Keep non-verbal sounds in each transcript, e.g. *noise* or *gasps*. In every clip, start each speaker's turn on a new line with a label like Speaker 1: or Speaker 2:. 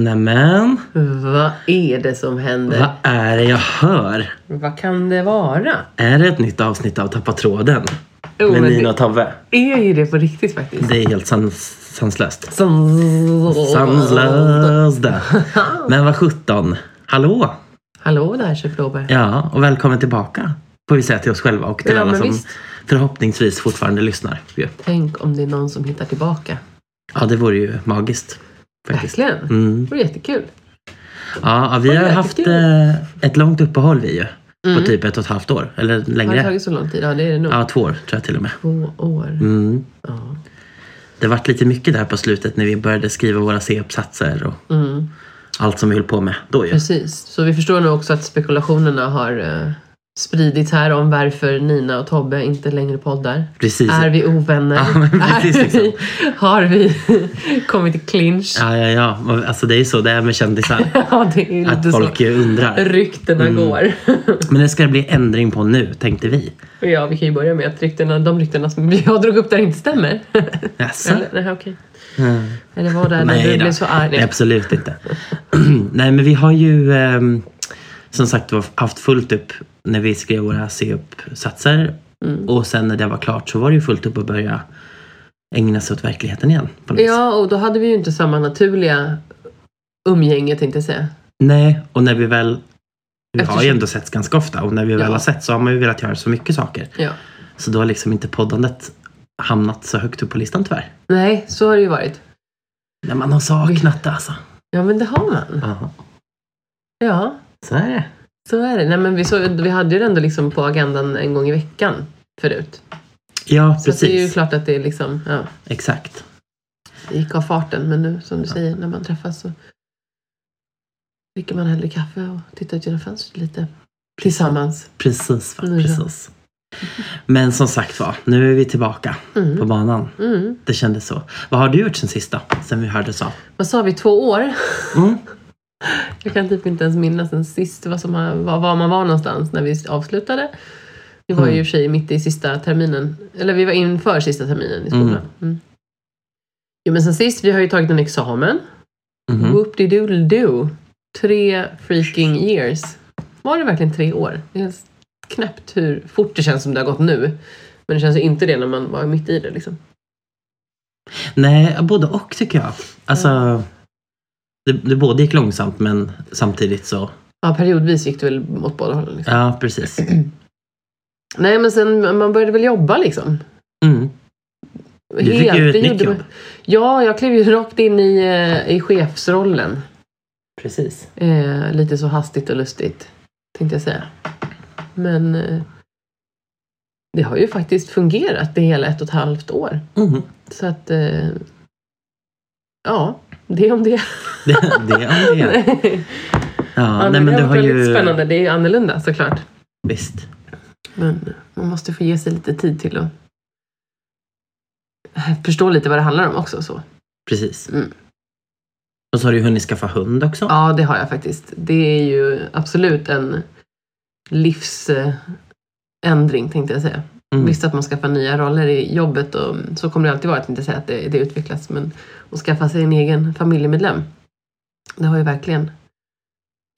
Speaker 1: Nämen,
Speaker 2: Vad är det som händer?
Speaker 1: vad är det jag hör?
Speaker 2: Vad kan det vara?
Speaker 1: Är det ett nytt avsnitt av Tappa tråden?
Speaker 2: Jo,
Speaker 1: Med
Speaker 2: men
Speaker 1: Nina och Tobbe.
Speaker 2: det är ju det på riktigt faktiskt.
Speaker 1: Det är helt sans sanslöst.
Speaker 2: Sans-
Speaker 1: Sanslöst!
Speaker 2: *laughs*
Speaker 1: Men vad sjutton. Hallå!
Speaker 2: Hallå där Chef Blåbär.
Speaker 1: Ja, och välkommen tillbaka. Får vi säga till oss själva och till
Speaker 2: Ja,
Speaker 1: alla
Speaker 2: men
Speaker 1: som
Speaker 2: visst.
Speaker 1: förhoppningsvis fortfarande lyssnar. ju.
Speaker 2: Tänk om det är någon som hittar tillbaka.
Speaker 1: Ja, det vore ju magiskt. Faktiskt.
Speaker 2: Verkligen.
Speaker 1: Mm.
Speaker 2: Det vore jättekul.
Speaker 1: Ja, ja, vi
Speaker 2: Oj,
Speaker 1: har
Speaker 2: vilket
Speaker 1: haft
Speaker 2: kul.
Speaker 1: eh, ett långt uppehåll vi ju. På
Speaker 2: Mm.
Speaker 1: typ ett och ett halvt år. Eller
Speaker 2: Har det
Speaker 1: längre.
Speaker 2: tagit så lång tid? Ja, det är det nog.
Speaker 1: Ja, två år tror jag till och med.
Speaker 2: Två år.
Speaker 1: Mm.
Speaker 2: Ja.
Speaker 1: Det vart lite mycket där på slutet när vi började skriva våra C-uppsatser och
Speaker 2: Mm.
Speaker 1: allt som vi höll på med då ju.
Speaker 2: Precis. Så vi förstår nu också att spekulationerna har eh, spridits här om varför Nina och Tobbe inte längre poddar.
Speaker 1: Precis.
Speaker 2: Är vi ovänner?
Speaker 1: Ja, men precis,
Speaker 2: är vi,
Speaker 1: liksom.
Speaker 2: Har vi kommit i clinch?
Speaker 1: Ja, ja, ja. Alltså det är ju så det är med kändisar.
Speaker 2: *laughs* Ja, det är ju
Speaker 1: Att
Speaker 2: lite
Speaker 1: folk Mm.
Speaker 2: så.
Speaker 1: ju undrar.
Speaker 2: Ryktena går. *laughs*
Speaker 1: Men det ska bli ändring på nu, tänkte vi.
Speaker 2: Och ja, vi kan ju börja med att ryktena, de ryktena som *laughs* jag drog upp där inte stämmer.
Speaker 1: *laughs* Jaså?
Speaker 2: Eller, nej, okej. Eller var det när
Speaker 1: Nej
Speaker 2: du
Speaker 1: då.
Speaker 2: blev så arg?
Speaker 1: Nej,
Speaker 2: Nej.
Speaker 1: absolut inte. *clears throat* Nej, men vi har ju ehm, som sagt var haft fullt upp när vi skrev våra C-uppsatser.
Speaker 2: Mm.
Speaker 1: Och sen när det var klart så var det ju fullt upp att börja ägna sig åt verkligheten igen. På något vis.
Speaker 2: Ja, och då hade vi ju inte samma naturliga umgänge tänkte jag säga.
Speaker 1: Nej, och när vi väl... Vi har ju
Speaker 2: Eftersom-
Speaker 1: ändå setts ganska ofta och när vi väl
Speaker 2: Ja.
Speaker 1: har sett så har man ju velat göra så mycket saker.
Speaker 2: Ja.
Speaker 1: Så då har liksom inte poddandet hamnat så högt upp på listan tyvärr.
Speaker 2: Nej, så har det ju varit.
Speaker 1: Men man har saknat det alltså.
Speaker 2: Ja, men det har man.
Speaker 1: Ja,
Speaker 2: Ja,
Speaker 1: så är det.
Speaker 2: så är det. Nej, men vi, så, vi hade ju det ändå liksom på agendan en gång i veckan förut.
Speaker 1: Ja,
Speaker 2: Så att det är ju
Speaker 1: precis.
Speaker 2: klart att det är liksom, ja,
Speaker 1: Exakt.
Speaker 2: det gick av farten. Men nu, som du säger, när man träffas så dricker man hellre kaffe och tittar ut genom fönstret lite. Tillsammans.
Speaker 1: Precis, va?
Speaker 2: Nu då.
Speaker 1: precis. Men som sagt var, nu är vi tillbaka
Speaker 2: Mm.
Speaker 1: på banan.
Speaker 2: Mm.
Speaker 1: Det kändes så. Vad har du gjort sen sista? Sen vi hördes av?
Speaker 2: Vad sa vi, två år?
Speaker 1: Mm.
Speaker 2: Jag kan typ inte ens minnas sen sist vad som, har- var, var man var någonstans när vi avslutade. Vi var
Speaker 1: Mm.
Speaker 2: ju i och för sig mitt i sista terminen, eller vi var inför sista terminen i skolan.
Speaker 1: Mm.
Speaker 2: Mm. Jo men sen sist, vi har ju tagit en examen.
Speaker 1: Mhm.
Speaker 2: whoop de doodle do Tre freaking years. Var det verkligen tre år? Det är helt knäppt hur fort det känns som det har gått nu. Men det känns ju inte det när man var mitt i det liksom.
Speaker 1: Nej, både och tycker jag. Alltså, det, det både gick långsamt men samtidigt så...
Speaker 2: Ja, periodvis gick det väl åt båda hållen. Liksom.
Speaker 1: Ja, precis.
Speaker 2: Nej men sen, man började väl jobba liksom.
Speaker 1: Mm. Du fick ju ett
Speaker 2: det
Speaker 1: nytt
Speaker 2: gjorde
Speaker 1: jobb.
Speaker 2: man- Ja, jag klev ju rakt in i, eh, i chefsrollen.
Speaker 1: Precis.
Speaker 2: Eh, lite så hastigt och lustigt, tänkte jag säga. Men eh, det har ju faktiskt fungerat det hela ett och ett halvt år.
Speaker 1: Mm.
Speaker 2: Så att, eh, ja, det om det.
Speaker 1: Det, det om det. Ja,
Speaker 2: *laughs* Ja,
Speaker 1: ja, nej,
Speaker 2: det
Speaker 1: men du
Speaker 2: varit
Speaker 1: har
Speaker 2: väldigt
Speaker 1: ju...
Speaker 2: spännande. Det är ju annorlunda såklart.
Speaker 1: Visst.
Speaker 2: Men man måste få ge sig lite tid till att förstå lite vad det handlar om också. Så.
Speaker 1: Precis.
Speaker 2: Mm.
Speaker 1: Och så har du ju hunnit skaffa hund också.
Speaker 2: Ja, det har jag faktiskt. Det är ju absolut en livsändring tänkte jag säga.
Speaker 1: Mm.
Speaker 2: Visst att man skaffar nya roller i jobbet och så kommer det alltid vara. Jag tänkte säga att det, det utvecklas. Men att skaffa sig en egen familjemedlem. Det har ju verkligen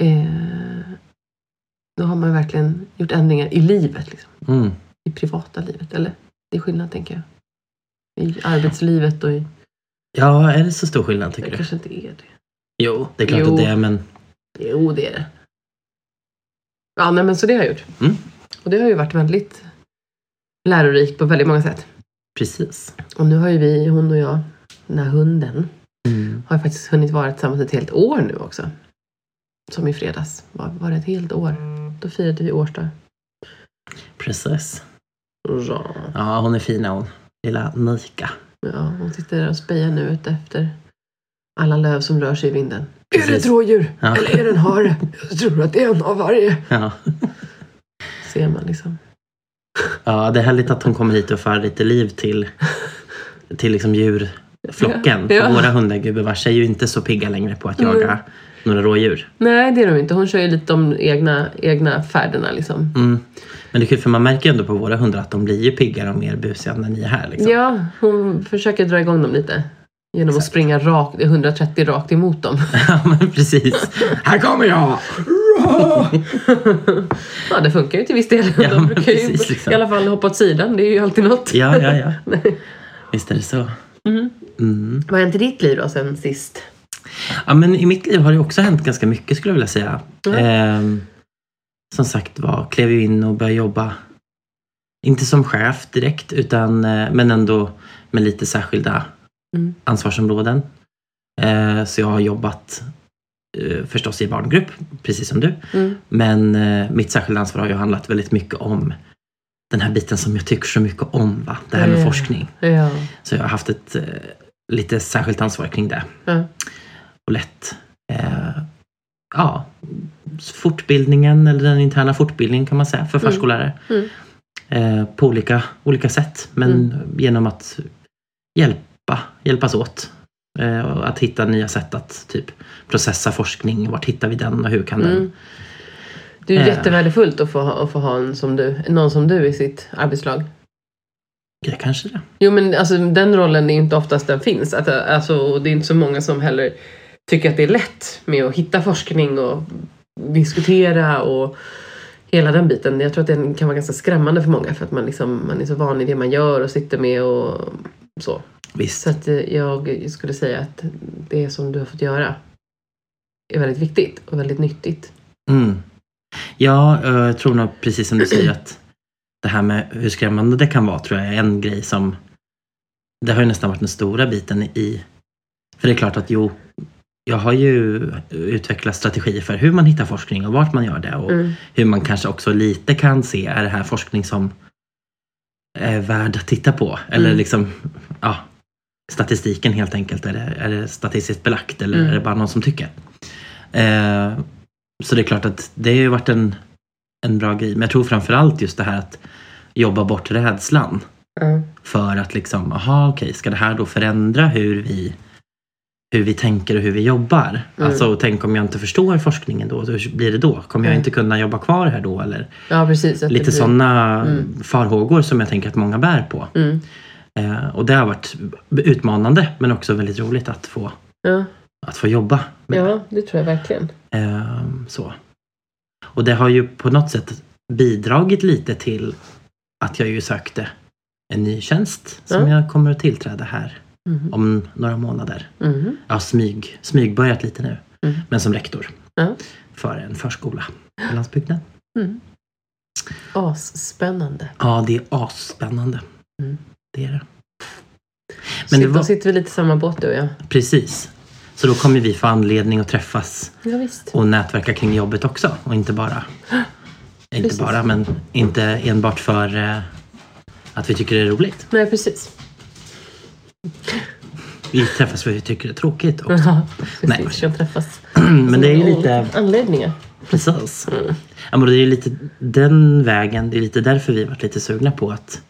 Speaker 2: eh, då har man ju verkligen gjort ändringar i livet. Liksom.
Speaker 1: Mm.
Speaker 2: I privata livet. Eller? Det är skillnad tänker jag. I arbetslivet och i...
Speaker 1: Ja, är det så stor skillnad tycker
Speaker 2: Det
Speaker 1: du?
Speaker 2: kanske inte är det.
Speaker 1: Jo, det är klart
Speaker 2: Jo.
Speaker 1: att det är men...
Speaker 2: Jo, det är det. Ja, nej, men så det har jag gjort.
Speaker 1: Mm.
Speaker 2: Och det har ju varit väldigt lärorikt på väldigt många sätt.
Speaker 1: Precis.
Speaker 2: Och nu har ju vi, hon och jag, den här hunden,
Speaker 1: Mm.
Speaker 2: har ju faktiskt hunnit vara tillsammans ett helt år nu också. Som i fredags var, var det ett helt år. Då firade vi årsdag.
Speaker 1: Precis.
Speaker 2: Ja.
Speaker 1: Ja, hon är fin hon. Lilla Nika.
Speaker 2: ja, hon sitter där och spejar nu ute efter alla löv som rör sig i vinden. Är det
Speaker 1: Precis.
Speaker 2: ett rådjur?
Speaker 1: Ja.
Speaker 2: Eller är det en hare? Jag tror att det är en av varje.
Speaker 1: Ja.
Speaker 2: Ser man liksom.
Speaker 1: ja, det är härligt att hon kommer hit och för lite liv till, till liksom djurflocken.
Speaker 2: Ja.
Speaker 1: För våra hundar gubevars är ju inte så pigga längre på att jaga några rådjur.
Speaker 2: Nej, det är de inte. Hon kör ju lite de egna, egna färderna liksom.
Speaker 1: Mm. Men det är kul för man märker ju ändå på våra hundar att de blir ju piggare och mer busiga när ni är här. Liksom.
Speaker 2: Ja, hon försöker dra igång dem lite Genom att springa rakt, 130 rakt emot dem.
Speaker 1: *laughs* ja, men precis. Här kommer jag!
Speaker 2: ja, det funkar ju till viss del.
Speaker 1: Ja,
Speaker 2: de
Speaker 1: men
Speaker 2: brukar ju
Speaker 1: precis, liksom.
Speaker 2: i alla fall hoppa åt sidan. Det är ju alltid något.
Speaker 1: Ja, ja, ja. Visst är det så.
Speaker 2: *laughs* Mm.
Speaker 1: Mm.
Speaker 2: Vad har hänt i ditt liv då sen sist?
Speaker 1: Ja, men I mitt liv har det också hänt ganska mycket skulle jag vilja säga.
Speaker 2: Mm.
Speaker 1: Ehm, som sagt var, klev ju in och började jobba. Inte som chef direkt, utan, eh, men ändå med lite särskilda
Speaker 2: Mm.
Speaker 1: ansvarsområden. Eh, så jag har jobbat eh, förstås i barngrupp, precis som du.
Speaker 2: Mm.
Speaker 1: Men eh, mitt särskilda ansvar har ju handlat väldigt mycket om den här biten som jag tycker så mycket om, va? det här med
Speaker 2: Ja.
Speaker 1: forskning.
Speaker 2: Ja.
Speaker 1: Så jag har haft ett eh, lite särskilt ansvar kring det.
Speaker 2: Ja.
Speaker 1: Och lätt. Eh, ja, fortbildningen eller den interna fortbildningen kan man säga för
Speaker 2: Mm.
Speaker 1: förskollärare.
Speaker 2: Mm.
Speaker 1: Eh, på olika, olika sätt, men
Speaker 2: Mm.
Speaker 1: genom att hjälpa, hjälpas åt. Eh, och att hitta nya sätt att typ processa forskning. Vart hittar vi den och hur kan den...
Speaker 2: Mm. Det är ju
Speaker 1: Eh.
Speaker 2: jättevärdefullt att få, ha, att få ha en som du, någon som du i sitt arbetslag.
Speaker 1: Ja, kanske det.
Speaker 2: Jo men alltså den rollen är ju inte oftast den finns. Att, alltså, och det är inte så många som heller tycker att det är lätt med att hitta forskning och diskutera och hela den biten. Jag tror att den kan vara ganska skrämmande för många för att man, liksom, man är så van i det man gör och sitter med och så.
Speaker 1: Visst.
Speaker 2: Så att eh, jag skulle säga att det som du har fått göra är väldigt viktigt och väldigt nyttigt.
Speaker 1: Mm. Ja, eh, jag tror nog precis som du säger att det här med hur skrämmande det kan vara tror jag är en grej som det har ju nästan varit den stora biten i för det är klart att jo, jag har ju utvecklat strategier för hur man hittar forskning och vart man gör det och
Speaker 2: Mm.
Speaker 1: hur man kanske också lite kan se är det här forskning som är värd att titta på eller
Speaker 2: Mm.
Speaker 1: liksom ja, statistiken helt enkelt. Är det, är det statistiskt belagt eller
Speaker 2: Mm.
Speaker 1: är det bara någon som tycker? Eh, så det är klart att det har ju varit en, en bra grej. Men jag tror framförallt just det här att jobba bort rädslan
Speaker 2: Ja.
Speaker 1: för att liksom, aha okej, ska det här då förändra hur vi, hur vi tänker och hur vi jobbar?
Speaker 2: Mm.
Speaker 1: Alltså tänk om jag inte förstår forskningen då, hur blir det då? Kommer jag
Speaker 2: Mm.
Speaker 1: inte kunna jobba kvar här då? Eller
Speaker 2: ja precis. att det
Speaker 1: lite
Speaker 2: blir-
Speaker 1: sådana
Speaker 2: Mm.
Speaker 1: farhågor som jag tänker att många bär på.
Speaker 2: Mm.
Speaker 1: Eh, och det har varit utmanande men också väldigt roligt att få,
Speaker 2: Ja.
Speaker 1: att få jobba med
Speaker 2: ja, det tror jag verkligen.
Speaker 1: Ehm, så. Och det har ju på något sätt bidragit lite till att jag ju sökte en ny tjänst som
Speaker 2: Ja.
Speaker 1: jag kommer att tillträda här
Speaker 2: Mhm.
Speaker 1: om några månader.
Speaker 2: Mhm.
Speaker 1: Jag har smyg, smygbörjat lite nu,
Speaker 2: Mm.
Speaker 1: men som rektor
Speaker 2: Ja.
Speaker 1: för en förskola på landsbygden.
Speaker 2: Mm. Asspännande.
Speaker 1: Ja, det är asspännande.
Speaker 2: Mm.
Speaker 1: Det är det.
Speaker 2: Men
Speaker 1: Men
Speaker 2: Sitt,
Speaker 1: det var-
Speaker 2: Då sitter vi lite i samma båt du och jag.
Speaker 1: Precis. Så då kommer vi få anledning att träffas
Speaker 2: Ja, visst.
Speaker 1: och nätverka kring jobbet också och inte bara
Speaker 2: *gasps*
Speaker 1: inte
Speaker 2: Precis.
Speaker 1: bara men inte enbart för eh, att vi tycker det är roligt.
Speaker 2: Nej, precis.
Speaker 1: Vi träffas för att vi tycker det är tråkigt. Och,
Speaker 2: *laughs* Ja,
Speaker 1: Nej,
Speaker 2: precis. Kan träffas.
Speaker 1: men det är ju
Speaker 2: Av
Speaker 1: lite,
Speaker 2: olika Anledningar.
Speaker 1: precis.
Speaker 2: Mm.
Speaker 1: Ja, men det är ju lite den vägen, det är lite därför vi varit lite sugna på att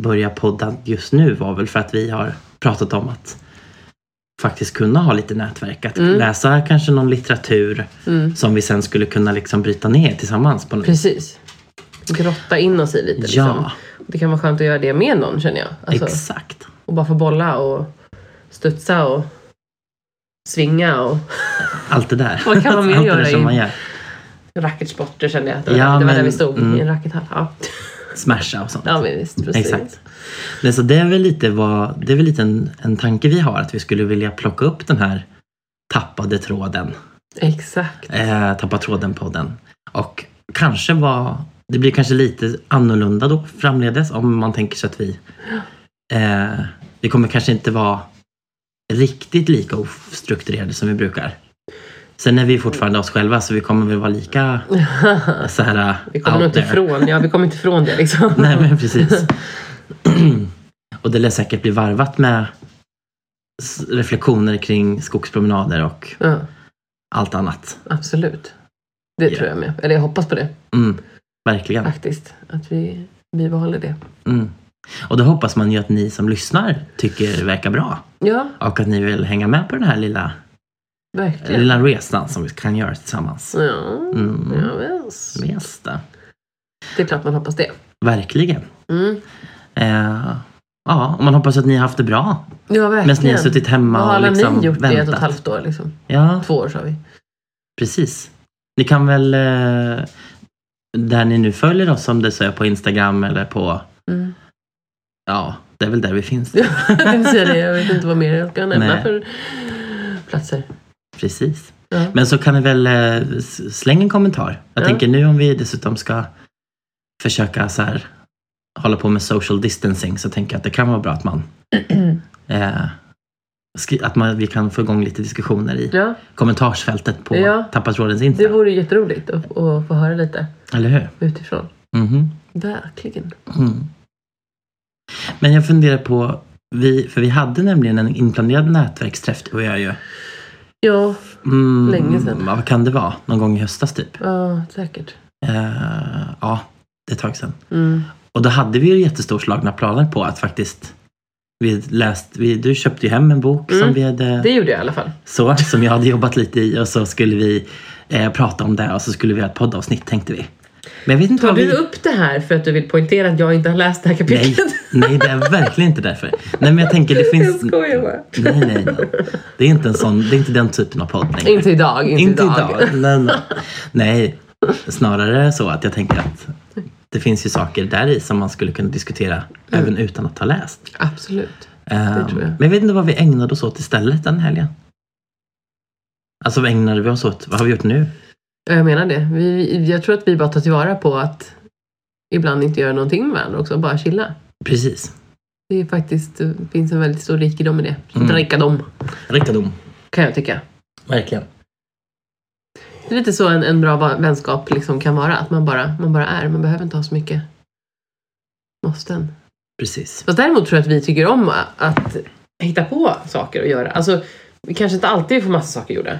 Speaker 1: börja podda just nu var väl för att vi har pratat om att faktiskt kunna ha lite nätverk, att
Speaker 2: Mm.
Speaker 1: läsa kanske någon litteratur
Speaker 2: Mm.
Speaker 1: som vi sen skulle kunna liksom bryta ner tillsammans på något
Speaker 2: Precis. Grotta in oss i lite. Liksom.
Speaker 1: Ja,
Speaker 2: Det kan vara skönt att göra det med någon känner jag. Alltså,
Speaker 1: exakt.
Speaker 2: och bara få bolla och studsa och svinga och
Speaker 1: Allt det där.
Speaker 2: Vad kan man mer
Speaker 1: Allt det
Speaker 2: göra
Speaker 1: där som
Speaker 2: i-
Speaker 1: man gör.
Speaker 2: racketsporter kände jag. att Det var,
Speaker 1: Ja,
Speaker 2: det var där
Speaker 1: men-
Speaker 2: vi stod
Speaker 1: mm.
Speaker 2: i en rackethall. Ja.
Speaker 1: Smasha och sånt.
Speaker 2: ja, men visst. Precis.
Speaker 1: Exakt. Nej, så det är väl lite, vad, det är väl lite en, en tanke vi har, att vi skulle vilja plocka upp den här tappade tråden,
Speaker 2: Exakt.
Speaker 1: eh, tappa tråden-podden. Och kanske vara, det blir kanske lite annorlunda då framledes om man tänker sig att vi, eh, vi kommer kanske inte vara riktigt lika ostrukturerade som vi brukar. Sen är vi fortfarande oss själva så vi kommer väl vara
Speaker 2: *laughs*
Speaker 1: lika så här
Speaker 2: Vi kommer nog
Speaker 1: out
Speaker 2: inte
Speaker 1: there.
Speaker 2: ifrån, ja, vi kommer inte ifrån det liksom.
Speaker 1: Nej men precis. och det lär säkert bli varvat med s- reflektioner kring skogspromenader och
Speaker 2: *laughs* Ja,
Speaker 1: allt annat.
Speaker 2: absolut. Det
Speaker 1: Ja.
Speaker 2: tror jag med. Eller jag hoppas på det
Speaker 1: Mm, verkligen.
Speaker 2: faktiskt. Att vi bibehåller det.
Speaker 1: Mm. Och det hoppas man ju att ni som lyssnar tycker verkar bra.
Speaker 2: Ja,
Speaker 1: Och att ni vill hänga med på den här lilla,
Speaker 2: verkligen.
Speaker 1: lilla resan som vi kan göra tillsammans.
Speaker 2: Ja,
Speaker 1: Mm.
Speaker 2: ja, visst.
Speaker 1: Yes, då.
Speaker 2: Det är klart man hoppas det.
Speaker 1: Verkligen.
Speaker 2: Mm.
Speaker 1: Eh, Ja, och man hoppas att ni har haft det bra.
Speaker 2: Ja, verkligen.
Speaker 1: Medan ni har suttit hemma
Speaker 2: Vad har
Speaker 1: och
Speaker 2: alla
Speaker 1: liksom
Speaker 2: ni gjort i ett och ett
Speaker 1: väntat.
Speaker 2: halvt år? Liksom?
Speaker 1: Ja,
Speaker 2: Två år sa vi.
Speaker 1: precis. Ni kan väl, eh, där ni nu följer oss, om det så är på Instagram eller på,
Speaker 2: Mm.
Speaker 1: ja, det är väl där vi finns.
Speaker 2: jag tänkte säga det. Jag vet inte vad mer jag kan nämna
Speaker 1: Nej.
Speaker 2: för platser.
Speaker 1: Precis.
Speaker 2: Ja.
Speaker 1: Men så kan ni väl eh, s- slänga en kommentar. Jag
Speaker 2: Ja.
Speaker 1: tänker nu om vi dessutom ska försöka så här, hålla på med social distancing så tänker jag att det kan vara bra att man, eh, skri- att man, vi kan få igång lite diskussioner i
Speaker 2: *clears throat* ja,
Speaker 1: kommentarsfältet på
Speaker 2: Ja.
Speaker 1: Tappasrådens Insta.
Speaker 2: det vore ju jätteroligt att, att få höra lite
Speaker 1: Eller hur?
Speaker 2: utifrån.
Speaker 1: Mhm.
Speaker 2: Verkligen.
Speaker 1: Mm. Men jag funderar på, vi, för vi hade nämligen en inplanerad nätverksträff du och jag ju.
Speaker 2: Ja,
Speaker 1: Mm,
Speaker 2: Länge sedan.
Speaker 1: Vad kan det vara? Någon gång i höstas typ?
Speaker 2: ja säkert.
Speaker 1: Eh, ja, det är ett tag sedan.
Speaker 2: Mm.
Speaker 1: Och då hade vi ju jättestorslagna planer på att faktiskt vi hade läst, vi, du köpte ju hem en bok som
Speaker 2: Mm.
Speaker 1: vi hade
Speaker 2: Det gjorde jag i alla fall.
Speaker 1: så, som jag hade jobbat lite i och så skulle vi eh, prata om det och så skulle vi ha ett poddavsnitt tänkte vi. Men jag vet inte
Speaker 2: Tar
Speaker 1: vad vi...
Speaker 2: du upp det här för att du vill poängtera att jag inte har läst det här
Speaker 1: Nej,
Speaker 2: kapitlet?
Speaker 1: nej, det är verkligen inte därför. Nej, men jag tänker *laughs* det
Speaker 2: Jag
Speaker 1: finns...
Speaker 2: skojar bara.
Speaker 1: Nej, nej, nej. Det är inte en sån, det är inte den typen av podd längre.
Speaker 2: Inte idag, inte,
Speaker 1: Inte
Speaker 2: idag.
Speaker 1: idag. Nej, nej. nej, snarare så att jag tänker att det finns ju saker där i som man skulle kunna diskutera
Speaker 2: Mm.
Speaker 1: även utan att ha läst.
Speaker 2: Absolut.
Speaker 1: Ehm,
Speaker 2: tror jag.
Speaker 1: Men jag vet inte vad vi ägnade oss åt istället den helgen. Alltså vad ägnade vi oss åt? Vad har vi gjort nu?
Speaker 2: Ja, Jag menar det. Vi, jag tror att vi bara tar tillvara på att ibland inte göra någonting med varandra också, bara chilla.
Speaker 1: Precis.
Speaker 2: Det är faktiskt, det finns en väldigt stor rikedom i det.
Speaker 1: Mm.
Speaker 2: Rikedom,
Speaker 1: Rikedom.
Speaker 2: kan jag tycka.
Speaker 1: Verkligen.
Speaker 2: Det är lite så en, en bra va- vänskap liksom kan vara, att man bara, man bara är. Man behöver inte ha så mycket måsten.
Speaker 1: Precis.
Speaker 2: Fast däremot tror jag att vi tycker om att hitta på saker och göra. Alltså, vi kanske inte alltid får massa saker gjorda.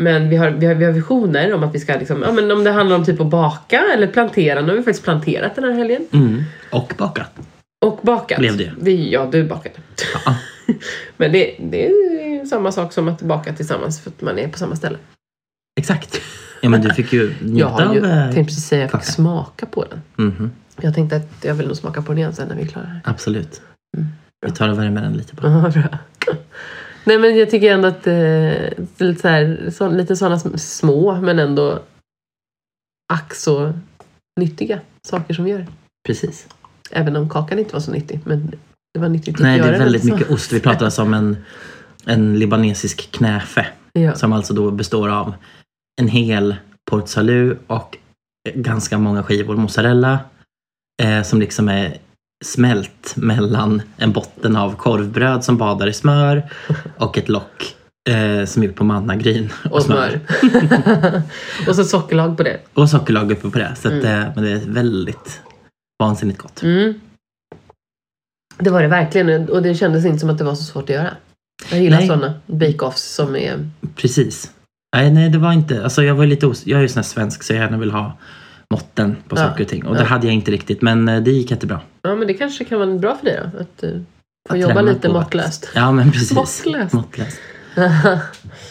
Speaker 2: Men vi har, vi har, vi har visioner om att vi ska liksom, ja men om det handlar om typ att baka eller plantera. Nu har vi faktiskt planterat den här helgen.
Speaker 1: Mm. Och bakat.
Speaker 2: Och bakat.
Speaker 1: Blev det?
Speaker 2: Vi, ja, du bakade.
Speaker 1: Ja.
Speaker 2: *laughs* men det, det är ju samma sak som att baka tillsammans för att man är på samma ställe.
Speaker 1: Exakt. Ja men du *laughs* fick ju
Speaker 2: Jag
Speaker 1: njuta
Speaker 2: har ju
Speaker 1: av... eh,
Speaker 2: tänkt precis säga att jag
Speaker 1: kaka.
Speaker 2: fick smaka på den.
Speaker 1: mhm.
Speaker 2: Jag tänkte att jag vill nog smaka på den igen sen när vi är klara här. *laughs*
Speaker 1: Absolut.
Speaker 2: Mm.
Speaker 1: Vi tar och värmer den lite bara.
Speaker 2: Ja, bra. Nej men jag tycker ändå att eh, det är lite, så här, så, lite sådana små men ändå ack så nyttiga saker som vi gör.
Speaker 1: Precis.
Speaker 2: Även om kakan inte var så nyttig. Men det var nyttigt
Speaker 1: Nej
Speaker 2: att
Speaker 1: det
Speaker 2: göra
Speaker 1: är väldigt
Speaker 2: den, så.
Speaker 1: mycket ost. Vi pratar alltså om en, en libanesisk knäfe.
Speaker 2: Ja.
Speaker 1: Som alltså då består av en hel port salut och ganska många skivor mozzarella. Eh, som liksom är smält mellan en botten av korvbröd som badar i
Speaker 2: *laughs*
Speaker 1: smör och ett lock eh, som är gjort på mannagryn
Speaker 2: Och smör. *laughs* och så sockerlag på det.
Speaker 1: Och sockerlag uppe på det. Så att, eh, men det är väldigt vansinnigt gott.
Speaker 2: Mm. Det var det verkligen och det kändes inte som att det var så svårt att göra. Jag gillar
Speaker 1: Nej.
Speaker 2: sådana bake-offs som är...
Speaker 1: Precis. Nej, nej, det var inte. Alltså, jag var lite os- Jag är ju sån här svensk så jag gärna vill ha måtten på
Speaker 2: Ja.
Speaker 1: saker och ting. Och det
Speaker 2: Ja.
Speaker 1: hade jag inte riktigt, men eh, det gick jättebra.
Speaker 2: Ja men det kanske kan vara bra för dig då? Att eh, få
Speaker 1: Att
Speaker 2: jobba
Speaker 1: träna
Speaker 2: lite
Speaker 1: på att- *laughs*
Speaker 2: måttlöst.
Speaker 1: Ja, men precis.
Speaker 2: Måttlöst. Mm.
Speaker 1: Måttlöst.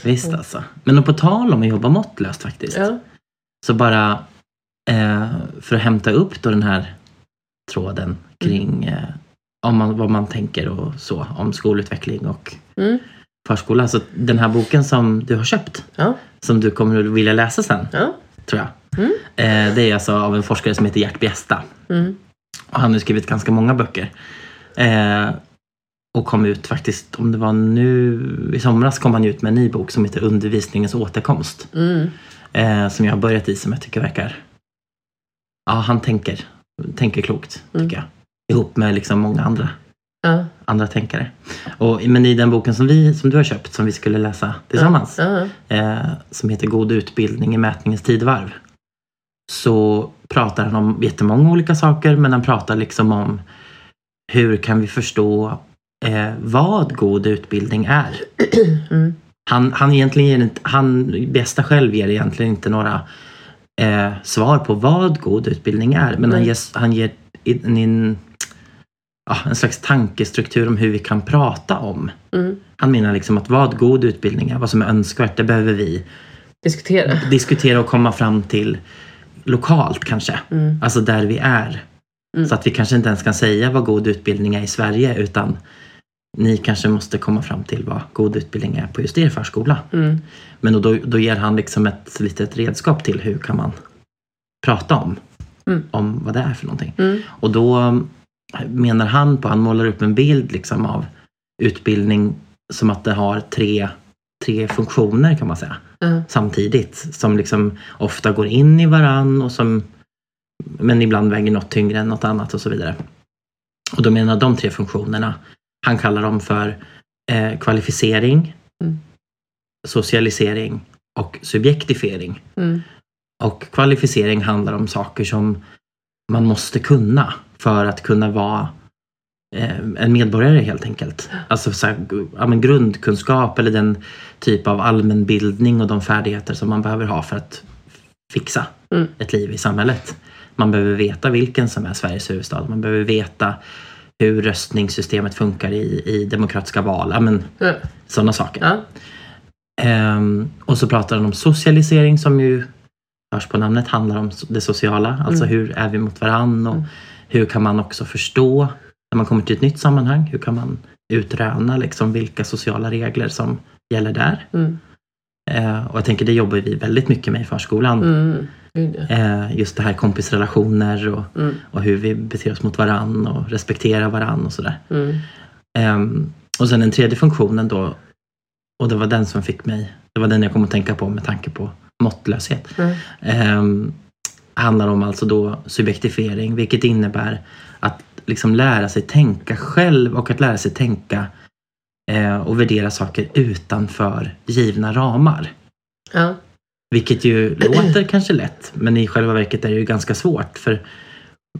Speaker 1: Visst alltså. Men och på tal om att jobba måttlöst faktiskt.
Speaker 2: ja.
Speaker 1: Så bara eh, för att hämta upp då den här tråden kring
Speaker 2: Mm.
Speaker 1: eh, om man, vad man tänker och så om skolutveckling och
Speaker 2: Mm.
Speaker 1: förskola. Så den här boken som du har köpt,
Speaker 2: Ja.
Speaker 1: som du kommer att vilja läsa sen,
Speaker 2: Ja.
Speaker 1: tror jag.
Speaker 2: Mm.
Speaker 1: Eh, det är alltså av en forskare som heter Gert Bjesta.
Speaker 2: Mm.
Speaker 1: Och han har skrivit ganska många böcker. Eh, och kom ut faktiskt, om det var nu i somras, kom han ut med en ny bok som heter Undervisningens återkomst.
Speaker 2: Mm.
Speaker 1: Eh, som jag har börjat i, som jag tycker verkar... Ja, han tänker. Tänker klokt,
Speaker 2: Mm.
Speaker 1: tycker jag. Ihop med liksom många andra,
Speaker 2: Ja.
Speaker 1: andra tänkare. Och, men i den boken som, vi, som du har köpt, som vi skulle läsa tillsammans,
Speaker 2: Ja. *clears throat*
Speaker 1: eh, som heter God utbildning i mätningens tidvarv. Så pratar han om jättemånga olika saker men han pratar liksom om hur kan vi förstå eh, vad god utbildning är.
Speaker 2: Mm.
Speaker 1: Han, han egentligen ger inte, han bästa själv ger egentligen inte några eh, svar på vad god utbildning är men han
Speaker 2: Nej.
Speaker 1: ger, han ger in, in, ja, en slags tankestruktur om hur vi kan prata om.
Speaker 2: Mm.
Speaker 1: Han menar liksom att vad god utbildning är, vad som är önskvärt, det behöver vi
Speaker 2: Diskutera.
Speaker 1: diskutera och komma fram till lokalt kanske.
Speaker 2: Mm.
Speaker 1: Alltså där vi är.
Speaker 2: Mm.
Speaker 1: Så att vi kanske inte ens kan säga vad god utbildning är i Sverige utan ni kanske måste komma fram till vad god utbildning är på just er förskola.
Speaker 2: Mm.
Speaker 1: Men då- då, då ger han liksom ett litet redskap till hur kan man prata om,
Speaker 2: Mm.
Speaker 1: om vad det är för någonting.
Speaker 2: Mm.
Speaker 1: Och då um, menar han på, han målar upp en bild liksom av utbildning som att det har tre, tre funktioner kan man säga
Speaker 2: Mm. Ja.
Speaker 1: samtidigt som liksom ofta går in i varann och som men ibland väger något tyngre än något annat och så vidare. Och då menar de tre funktionerna, han kallar dem för eh, kvalificering,
Speaker 2: Mm.
Speaker 1: socialisering och subjektifiering.
Speaker 2: Mm.
Speaker 1: Och kvalificering handlar om saker som man måste kunna för att kunna vara eh, en medborgare helt enkelt. Alltså så här, gu- ja, men grundkunskap eller den typ av allmänbildning och de färdigheter som man behöver ha för att fixa
Speaker 2: Mm.
Speaker 1: ett liv i samhället. Man behöver veta vilken som är Sveriges huvudstad. Man behöver veta hur röstningssystemet funkar i, i demokratiska val. Ja, men
Speaker 2: Ja.
Speaker 1: sådana saker.
Speaker 2: Ja.
Speaker 1: Ehm, och så pratar han om socialisering som ju hörs på namnet handlar om so- det sociala. Alltså
Speaker 2: Mm.
Speaker 1: hur är vi mot varann och
Speaker 2: Mm.
Speaker 1: hur kan man också förstå när man kommer till ett nytt sammanhang. Hur kan man utröna liksom vilka sociala regler som gäller där.
Speaker 2: Mm.
Speaker 1: Eh, och jag tänker det jobbar vi väldigt mycket med i förskolan.
Speaker 2: Mm. Gud, ja.
Speaker 1: Eh, just det här kompisrelationer och,
Speaker 2: Mm.
Speaker 1: och hur vi beter oss mot varann och respekterar varann och sådär.
Speaker 2: Mm.
Speaker 1: Ehm, och sen den tredje funktionen då, och det var den som fick mig, det var den jag kom att tänka på med tanke på måttlöshet.
Speaker 2: Mm.
Speaker 1: Ehm, handlar om alltså då subjektifiering, vilket innebär att liksom lära sig tänka själv och att lära sig tänka eh, och värdera saker utanför givna ramar.
Speaker 2: Ja.
Speaker 1: Vilket ju låter kanske lätt, men i själva verket är det ju ganska svårt. För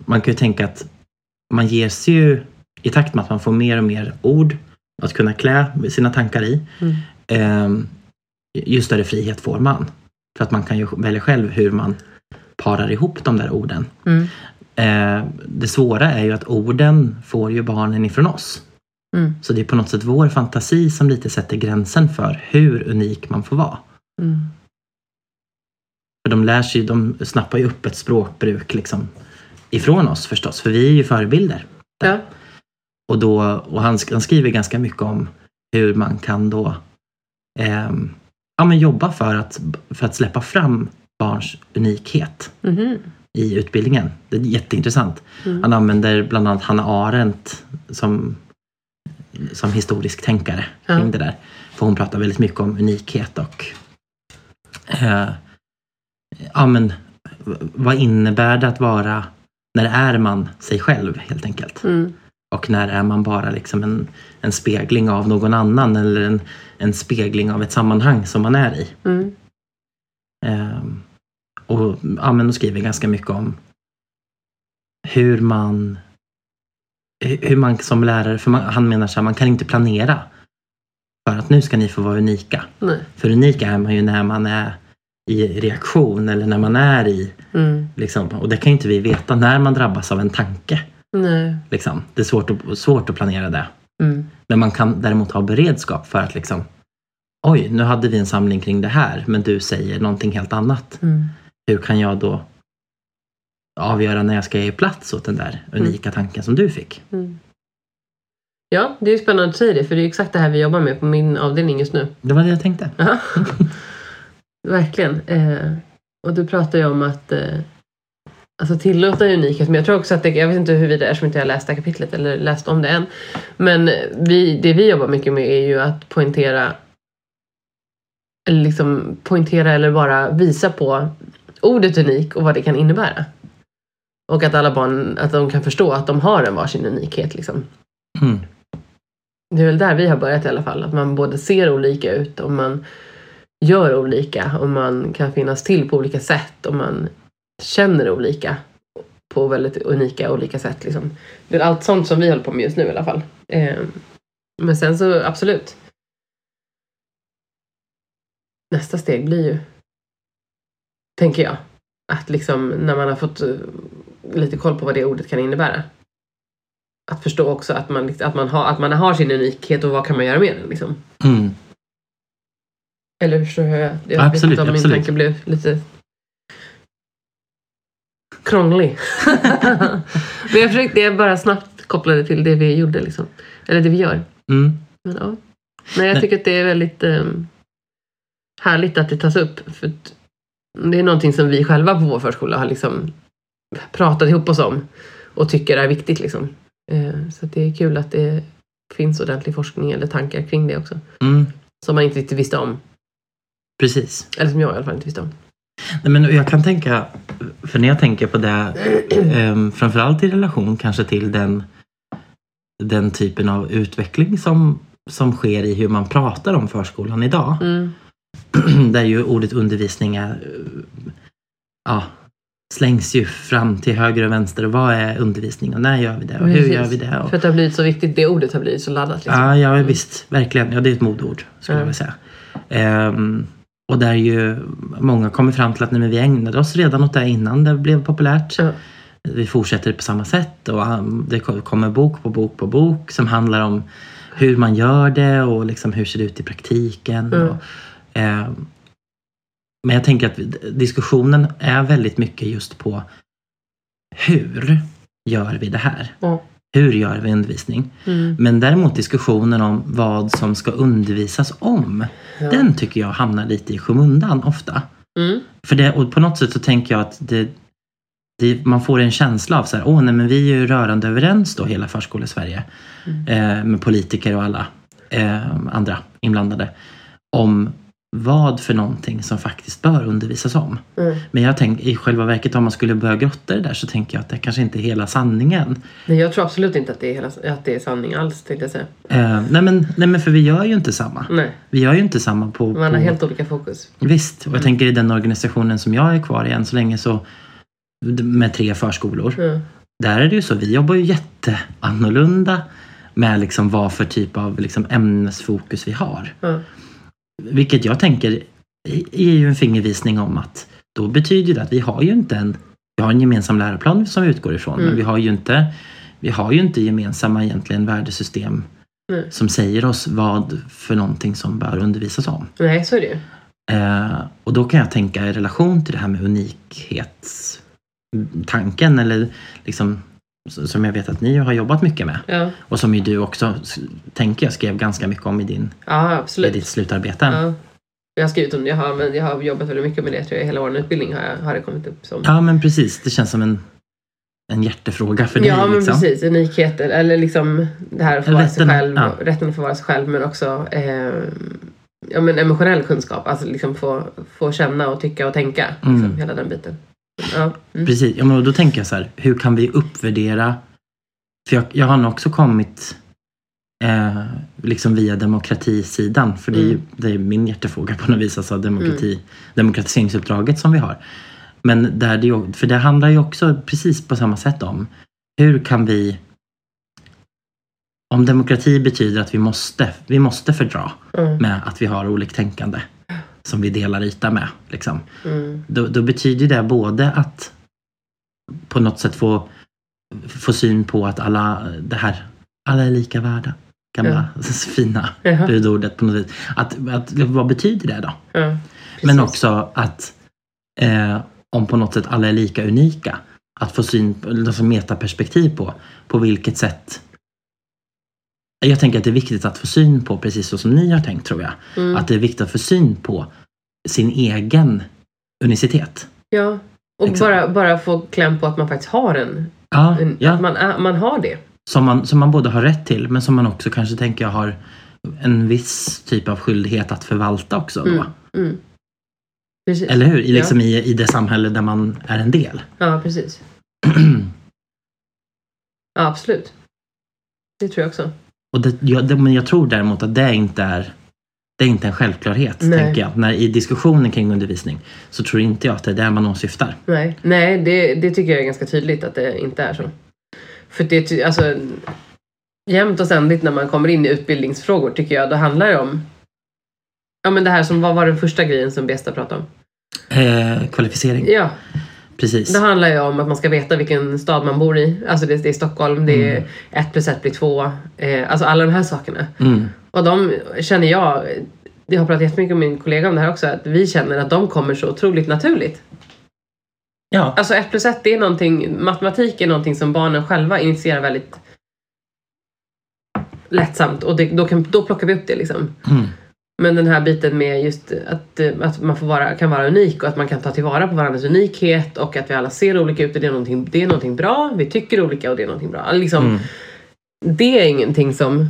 Speaker 1: man kan ju tänka att man ges ju, i takt med att man får mer och mer ord att kunna klä sina tankar i,
Speaker 2: Mm.
Speaker 1: ehm, ju större frihet får man. För att man kan ju välja själv hur man parar ihop de där orden.
Speaker 2: Mm.
Speaker 1: Eh, det svåra är ju att orden får ju barnen ifrån oss.
Speaker 2: Mm.
Speaker 1: Så det är på något sätt vår fantasi som lite sätter gränsen för hur unik man får vara.
Speaker 2: Mm.
Speaker 1: För de lär sig, de snappar ju upp ett språkbruk liksom ifrån oss förstås, för vi är ju förebilder.
Speaker 2: Ja.
Speaker 1: Och, då, och han, sk- han skriver ganska mycket om hur man kan då ehm, ja, men jobba för att, för att släppa fram barns unikhet
Speaker 2: Mhm.
Speaker 1: i utbildningen. Det är jätteintressant.
Speaker 2: Mm.
Speaker 1: Han använder bland annat Hanna Arendt som, som historisk tänkare
Speaker 2: Ja.
Speaker 1: kring det där. För hon pratar väldigt mycket om unikhet och eh, ja, men, v- vad innebär det att vara, när är man sig själv helt enkelt?
Speaker 2: Mm.
Speaker 1: Och när är man bara liksom en, en spegling av någon annan eller en, en spegling av ett sammanhang som man är i?
Speaker 2: Mm.
Speaker 1: Ehm, och ja, men de skriver ganska mycket om hur man hu- hur man som lärare, för man, han menar så här, man kan inte planera för att nu ska ni få vara unika.
Speaker 2: Nej.
Speaker 1: För unika är man ju när man är i reaktion eller när man är i,
Speaker 2: Mm.
Speaker 1: liksom, och det kan ju inte vi veta när man drabbas av en tanke.
Speaker 2: Nej.
Speaker 1: Liksom. Det är svårt att, svårt att planera det.
Speaker 2: Mm.
Speaker 1: Men man kan däremot ha beredskap för att liksom, oj, nu hade vi en samling kring det här, men du säger någonting helt annat
Speaker 2: Mm.
Speaker 1: hur kan jag då avgöra när jag ska ge plats åt den där unika tanken som du fick?
Speaker 2: Mm. Ja, det är ju spännande att säga det, för det är ju exakt det här vi jobbar med på min avdelning just nu.
Speaker 1: Det var det jag tänkte.
Speaker 2: Ja. Verkligen. Eh, och du pratar ju om att eh, alltså tillåta unikhet, men jag tror också att det, jag vet inte hur vi det är som inte jag har läst det här kapitlet eller läst om det än. Men vi, det vi jobbar mycket med är ju att poängtera eller liksom poängtera eller bara visa på ordet unik och vad det kan innebära. Och att alla barn att de kan förstå att de har en varsin unikhet. Liksom.
Speaker 1: Mm.
Speaker 2: Det är väl där vi har börjat i alla fall. Att man både ser olika ut och man gör olika. Och man kan finnas till på olika sätt. Och man känner olika på väldigt unika olika sätt. Liksom. Det är allt sånt som vi håller på med just nu i alla fall. Eh, men sen så absolut. Nästa steg blir ju, tänker jag, att liksom när man har fått eh, lite koll på vad det ordet kan innebära att förstå också att man, liksom- att man, har, att man har sin unikhet och vad kan man göra med den. Liksom.
Speaker 1: Mm.
Speaker 2: Eller hur förstår jag? jag vet
Speaker 1: Absolut,
Speaker 2: inte om min
Speaker 1: absolut.
Speaker 2: tanke blev lite krånglig. Men jag försökte jag bara snabbt koppla det till det vi gjorde. Liksom. Eller det vi gör.
Speaker 1: Mm.
Speaker 2: Men, ja. Men jag
Speaker 1: Nej.
Speaker 2: tycker att det är väldigt ehm, härligt att det tas upp. För att det är någonting som vi själva på vår förskola har liksom pratat ihop oss om och tycker är viktigt. Liksom. Eh, så att det är kul att det finns ordentlig forskning eller tankar kring det också.
Speaker 1: Mm.
Speaker 2: Som man inte riktigt visste om.
Speaker 1: Precis.
Speaker 2: Eller som jag i alla fall inte visste om.
Speaker 1: Nej, men jag kan tänka, för när jag tänker på det, *clears throat* um, framförallt i relation kanske till den, den typen av utveckling som, som sker i hur man pratar om förskolan idag. *clears throat*
Speaker 2: Mm.
Speaker 1: där ju ordet undervisning är, eh, ja, slängs ju fram till höger och vänster. Vad är undervisning och när gör vi det och hur
Speaker 2: Precis.
Speaker 1: gör vi det? Och,
Speaker 2: För att det har blivit så viktigt. Det ordet har blivit så laddat. Liksom.
Speaker 1: ja, ja, visst, verkligen. Ja, det är ett modord skulle
Speaker 2: Mm.
Speaker 1: jag vilja säga. Ehm, och där ju många kommer fram till att nej, men vi ägnade oss redan åt det här innan det blev populärt.
Speaker 2: Ja.
Speaker 1: Vi fortsätter på samma sätt och um, det ko- kommer bok på bok på bok som handlar om hur man gör det och liksom hur ser det ut i praktiken.
Speaker 2: Mm.
Speaker 1: Och, ehm, men jag tänker att d- diskussionen är väldigt mycket just på hur gör vi det här?
Speaker 2: Ja.
Speaker 1: Hur gör vi undervisning?
Speaker 2: Mm.
Speaker 1: Men däremot diskussionen om vad som ska undervisas om,
Speaker 2: Ja.
Speaker 1: den tycker jag hamnar lite i skymundan ofta.
Speaker 2: Mm.
Speaker 1: För det, och på något sätt så tänker jag att det, det, man får en känsla av så här, åh nej men vi är ju rörande överens då hela förskole-Sverige
Speaker 2: Mm.
Speaker 1: eh, med politiker och alla eh, andra inblandade om vad för någonting som faktiskt bör undervisas om.
Speaker 2: Mm.
Speaker 1: Men jag tänker i själva verket om man skulle börja grotta i det där så tänker jag att det kanske inte är hela sanningen.
Speaker 2: Nej, jag tror absolut inte att det är, hela, att det är sanning alls tänkte jag säga.
Speaker 1: Eh, nej, men, nej men för vi gör ju inte samma.
Speaker 2: Nej,
Speaker 1: Vi gör ju inte samma på...
Speaker 2: man
Speaker 1: på
Speaker 2: har helt Mm. olika fokus.
Speaker 1: Visst, och jag tänker i den organisationen som jag är kvar i än så länge så med tre förskolor.
Speaker 2: Mm.
Speaker 1: Där är det ju så, vi jobbar ju jätteannorlunda med liksom vad för typ av liksom ämnesfokus vi har.
Speaker 2: Ja.
Speaker 1: Vilket jag tänker i- är ju en fingervisning om att då betyder det att vi har ju inte en, vi har en gemensam läroplan som vi utgår ifrån,
Speaker 2: Mm.
Speaker 1: men vi har ju inte, vi har ju inte gemensamma egentligen värdesystem
Speaker 2: Nej.
Speaker 1: som säger oss vad för någonting som bör undervisas om.
Speaker 2: Nej, så är det ju.
Speaker 1: Eh, och då kan jag tänka i relation till det här med unikhetstanken eller liksom s- som jag vet att ni har jobbat mycket med
Speaker 2: Ja,
Speaker 1: och som ju du också, s- tänker jag, skrev ganska mycket om i, din,
Speaker 2: ja
Speaker 1: i
Speaker 2: absolut.
Speaker 1: ditt slutarbete. Ja.
Speaker 2: Ja. Jag har skrivit om det, jag har, men jag har jobbat väldigt mycket med det tror jag. Hela vår utbildning har, jag- har det kommit upp som.
Speaker 1: men precis. Det känns som en, en hjärtefråga för dig.
Speaker 2: ja, men
Speaker 1: liksom.
Speaker 2: precis. Unikheter, eller liksom det här att få vara sig
Speaker 1: Rätten,
Speaker 2: själv.
Speaker 1: ja.
Speaker 2: Rätten att få vara sig själv, men också eh, ja, men emotionell kunskap. Alltså liksom få, få känna och tycka och tänka. Liksom,
Speaker 1: Mm.
Speaker 2: Hela den biten. Ja. Mm.
Speaker 1: Precis. Ja, men och då tänker jag så här, hur kan vi uppvärdera? För jag, jag har nog också kommit eh, liksom via demokratisidan, för det är, ju,
Speaker 2: Mm.
Speaker 1: det är min hjärtefråga på något vis, alltså demokrati, demokratiseringsuppdraget som vi har. Men där det, ju- för det handlar ju också precis på samma sätt om hur kan vi om demokrati betyder att vi måste, vi måste fördra
Speaker 2: Mm.
Speaker 1: med att vi har oliktänkande som vi delar yta med. Liksom
Speaker 2: Mm.
Speaker 1: då, då betyder det både att på något sätt få, få syn på att alla, det här, alla är lika värda. Gamla *laughs* fina
Speaker 2: Jaha.
Speaker 1: budordet på något vis. Att, att, vad betyder det då?
Speaker 2: Ja.
Speaker 1: Men
Speaker 2: Precis.
Speaker 1: också att eh, om på något sätt alla är lika unika. Att få syn, alltså metaperspektiv på, på vilket sätt jag tänker att det är viktigt att få syn på, precis så som ni har tänkt tror jag,
Speaker 2: Mm.
Speaker 1: att det är viktigt att få syn på sin egen unicitet.
Speaker 2: Ja, och
Speaker 1: Exakt.
Speaker 2: bara, bara få kläm på att man faktiskt har en.
Speaker 1: Ja,
Speaker 2: en
Speaker 1: ja.
Speaker 2: Att man, är- man har det.
Speaker 1: Som, man, som man både har rätt till men som man också kanske tänker jag har en viss typ av skyldighet att förvalta också. Då.
Speaker 2: Mm. Mm. Precis.
Speaker 1: Eller hur? I,
Speaker 2: Ja.
Speaker 1: liksom i, I det samhälle där man är en del. *clears throat*
Speaker 2: Ja, precis. Ja, absolut. Det tror jag också.
Speaker 1: Och det, jag, det, men jag tror däremot att det inte är det är inte en självklarhet,
Speaker 2: Nej.
Speaker 1: tänker jag. När, I diskussionen kring undervisning så tror inte jag att det är där man åsyftar.
Speaker 2: Nej, Nej det, det tycker jag är ganska tydligt att det inte är så. För det är ty- alltså jämt och ständigt när man kommer in i utbildningsfrågor tycker jag, då handlar det om Ja men det här som, vad var den första grejen som Besta pratade om?
Speaker 1: Eh, kvalificering,
Speaker 2: Ja,
Speaker 1: precis.
Speaker 2: Det handlar ju om att man ska veta vilken stad man bor i. Alltså det, det är Stockholm, det är ett plus ett blir två. Eh, alltså alla de här sakerna.
Speaker 1: Mm,
Speaker 2: Och de känner jag, jag har pratat jättemycket med min kollega om det här också, att vi känner att de kommer så otroligt naturligt.
Speaker 1: Ja,
Speaker 2: Alltså ett plus ett det är någonting, matematik är någonting som barnen själva initierar väldigt lättsamt och det, då, kan, då plockar vi upp det liksom.
Speaker 1: mm.
Speaker 2: Men den här biten med just att, eh, att man får vara, kan vara unik och att man kan ta tillvara på varandras unikhet och att vi alla ser olika ut och det är någonting, det är någonting bra, vi tycker olika och det är någonting bra. Liksom,
Speaker 1: Mm.
Speaker 2: Det är ingenting som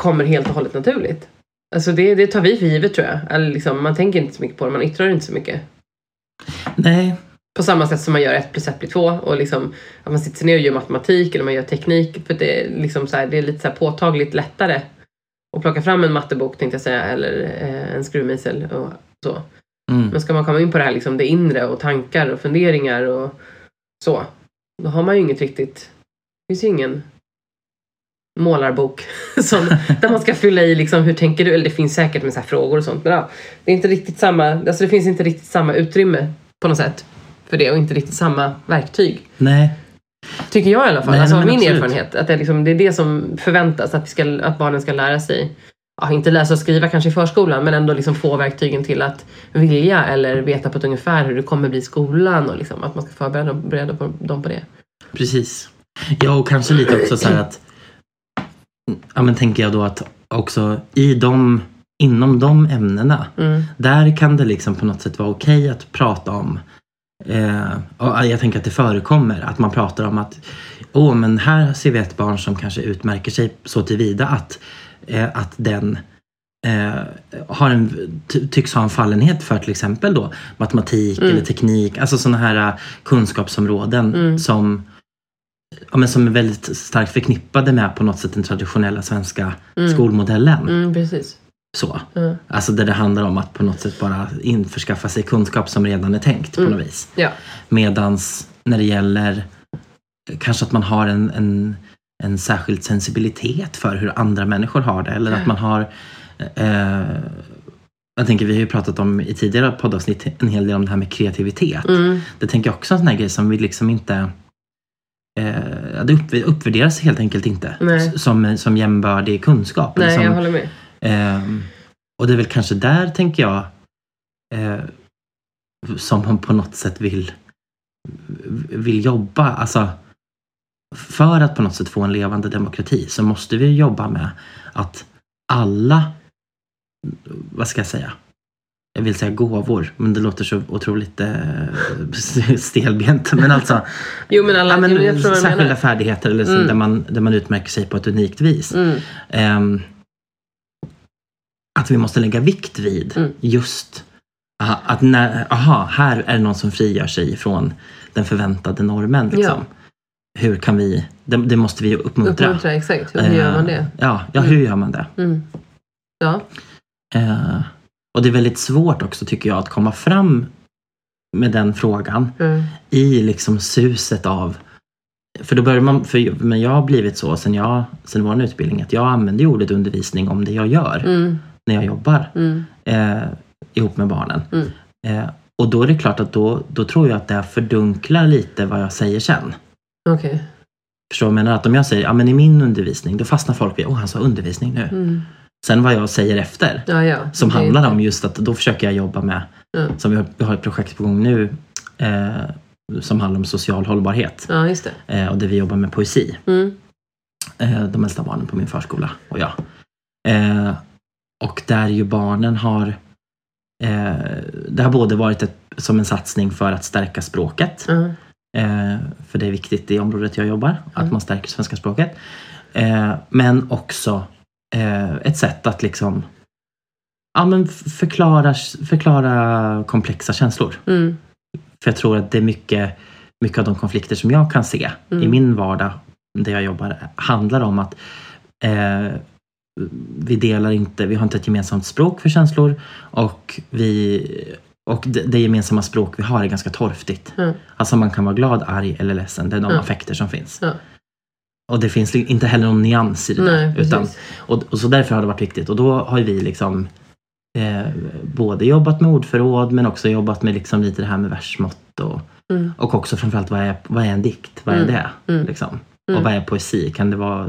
Speaker 2: kommer helt och hållet naturligt. Alltså det, det tar vi för givet tror jag. Eller liksom, man tänker inte så mycket på det, man yttrar inte så mycket.
Speaker 1: nej.
Speaker 2: På samma sätt som man gör ett plus ett blir två och liksom att man sitter ner och gör matematik eller man gör teknik för det är, liksom så här, det är lite så här påtagligt lättare att plocka fram en mattebok tänkte jag säga eller eh, en skruvmejsel och så.
Speaker 1: Mm.
Speaker 2: Men ska man komma in på det här liksom det inre och tankar och funderingar och så då har man ju inget riktigt, det finns ju ingen målarbok *laughs* som, där man ska fylla i liksom hur tänker du eller det finns säkert med så här frågor och sånt men ja, det är inte riktigt samma, alltså det finns inte riktigt samma utrymme på något sätt för det och inte riktigt samma verktyg.
Speaker 1: Nej.
Speaker 2: Tycker jag i alla fall.
Speaker 1: Nej,
Speaker 2: alltså
Speaker 1: men
Speaker 2: min
Speaker 1: absolut.
Speaker 2: erfarenhet. Att det, är liksom, det är det som förväntas. Att, vi ska, att barnen ska lära sig. Ja, inte läsa och skriva kanske i förskolan men ändå liksom få verktygen till att vilja eller veta på ett ungefär hur det kommer bli i skolan. Och liksom, att man ska förbereda bereda på dem på det.
Speaker 1: Precis. Ja, och kanske lite också så här att... Ja, men tänker jag då att också i de, inom de ämnena,
Speaker 2: Mm.
Speaker 1: där kan det liksom på något sätt vara okej att prata om Eh, och jag tänker att det förekommer att man pratar om att åh, men här ser vi ett barn som kanske utmärker sig så tillvida att, eh, att den eh, har en, ty- tycks ha en fallenhet för till exempel då matematik eller teknik, alltså sådana här eh, kunskapsområden
Speaker 2: Mm.
Speaker 1: som, ja, men som är väldigt starkt förknippade med på något sätt den traditionella svenska
Speaker 2: Mm.
Speaker 1: skolmodellen.
Speaker 2: Mm, precis.
Speaker 1: Så.
Speaker 2: Mm.
Speaker 1: Alltså där det handlar om att på något sätt bara införskaffa sig kunskap som redan är tänkt
Speaker 2: Mm.
Speaker 1: på något vis.
Speaker 2: Ja.
Speaker 1: Medans när det gäller eh, kanske att man har en, en, en särskild sensibilitet för hur andra människor har det.
Speaker 2: Mm.
Speaker 1: Eller att man har... Eh, jag tänker, vi har ju pratat om i tidigare poddavsnitt en hel del om det här med kreativitet.
Speaker 2: Mm.
Speaker 1: Det tänker jag också är en sån här grej som vi liksom inte... Eh, det upp, uppvärderas helt enkelt inte
Speaker 2: Nej.
Speaker 1: s- som, som jämbördig kunskap. eller
Speaker 2: Nej,
Speaker 1: som,
Speaker 2: jag håller med.
Speaker 1: Ehm, och det är väl kanske där, tänker jag, eh, som man på något sätt vill, vill jobba. Alltså, för att på något sätt få en levande demokrati så måste vi jobba med att alla, vad ska jag säga, jag vill säga gåvor, men det låter så otroligt eh, *laughs* stelbent. Men alltså,
Speaker 2: Jo, men alla...
Speaker 1: ja, men,
Speaker 2: jag tror vad du
Speaker 1: särskilda
Speaker 2: menar.
Speaker 1: färdigheter eller så,
Speaker 2: Mm.
Speaker 1: där, man, där man utmärker sig på ett unikt vis.
Speaker 2: Mm.
Speaker 1: Ehm, att vi måste lägga vikt vid
Speaker 2: Mm.
Speaker 1: just aha, att när, aha, här är det någon som frigör sig från den förväntade normen. Liksom. Hur kan vi, det, det måste vi uppmuntra.
Speaker 2: Uppmuntra, exakt. Hur gör man
Speaker 1: Eh,
Speaker 2: det?
Speaker 1: Ja, ja
Speaker 2: Mm.
Speaker 1: hur gör man det?
Speaker 2: Mm. Ja.
Speaker 1: Eh, och det är väldigt svårt också tycker jag att komma fram med den frågan
Speaker 2: Mm.
Speaker 1: i liksom suset av för då börjar man, för, men jag har blivit så sen, jag, sen vår utbildning att jag använder ju ordet undervisning om det jag gör
Speaker 2: Mm.
Speaker 1: när jag jobbar.
Speaker 2: Mm.
Speaker 1: eh, ihop med barnen.
Speaker 2: Mm.
Speaker 1: Eh, och då är det klart att då, då tror jag att det här fördunklar lite vad jag säger sen.
Speaker 2: Okej.
Speaker 1: Förstår du vad jag menar? Att om jag säger ja, men i min undervisning, då fastnar folk vid åh han sa undervisning nu.
Speaker 2: Mm.
Speaker 1: Sen vad jag säger efter,
Speaker 2: Ja, ja.
Speaker 1: som
Speaker 2: Det-
Speaker 1: handlar om just att då försöker jag jobba med,
Speaker 2: Mm.
Speaker 1: som vi har, vi har ett projekt på gång nu, eh, som handlar om social hållbarhet.
Speaker 2: Ja, just det.
Speaker 1: Eh, och där vi jobbar med poesi,
Speaker 2: Mm.
Speaker 1: eh, de äldsta barnen på min förskola och jag. Eh, och där ju barnen har eh, Det har både varit ett, som en satsning för att stärka språket,
Speaker 2: Ja.
Speaker 1: eh, för det är viktigt i området jag jobbar, att
Speaker 2: Mm.
Speaker 1: man stärker svenska språket. Eh, men också eh, ett sätt att liksom ja, men f- förklara, förklara komplexa känslor.
Speaker 2: Mm.
Speaker 1: För jag tror att det är mycket, mycket av de konflikter som jag kan se
Speaker 2: Mm.
Speaker 1: i min vardag där jag jobbar handlar om att eh, vi delar inte, vi har inte ett gemensamt språk för känslor och, vi, och det, det gemensamma språk vi har är ganska torftigt.
Speaker 2: Mm.
Speaker 1: Alltså man kan vara glad, arg eller ledsen, det är de
Speaker 2: Mm.
Speaker 1: affekter som finns.
Speaker 2: Ja.
Speaker 1: Och det finns li- inte heller någon nyans i det
Speaker 2: Nej,
Speaker 1: där, utan
Speaker 2: precis.
Speaker 1: och, och så därför har det varit viktigt. Och då har ju vi liksom eh, både jobbat med ordförråd men också jobbat med liksom lite det här med versmått och,
Speaker 2: Mm.
Speaker 1: och också framförallt vad är, vad är en dikt? Vad är
Speaker 2: Mm.
Speaker 1: det?
Speaker 2: Mm.
Speaker 1: Liksom?
Speaker 2: Mm.
Speaker 1: Och vad är poesi? Kan det vara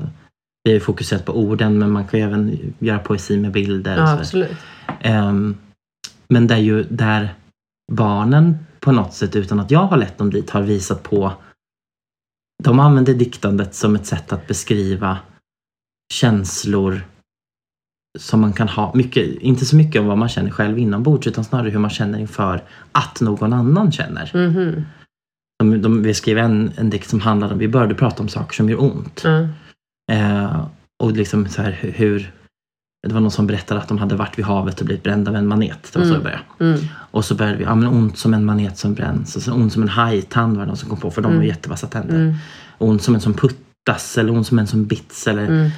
Speaker 1: vi har ju fokuserat på orden men man kan ju även göra poesi med bilder.
Speaker 2: Ja,
Speaker 1: och så
Speaker 2: absolut.
Speaker 1: där. Ehm, men det är ju där barnen på något sätt utan att jag har lett dem dit har visat på de använder diktandet som ett sätt att beskriva känslor som man kan ha, mycket, inte så mycket om vad man känner själv inombords utan snarare hur man känner inför att någon annan känner.
Speaker 2: Mhm.
Speaker 1: De, de, vi skrev en, en dikt som handlade om, vi började prata om saker som gör ont.
Speaker 2: Ja.
Speaker 1: Eh, och liksom så här hu- hur, det var någon som berättade att de hade varit vid havet och blivit brända av en manet. Det var så det började.
Speaker 2: Mm.
Speaker 1: Och så började vi, ja men ont som en manet som bränns. Och så ont som en hajtand var det någon som kom på för de har
Speaker 2: Mm.
Speaker 1: jättevassa tänder.
Speaker 2: Mm.
Speaker 1: Ont som en som puttas eller ont som en som bits eller
Speaker 2: Mm.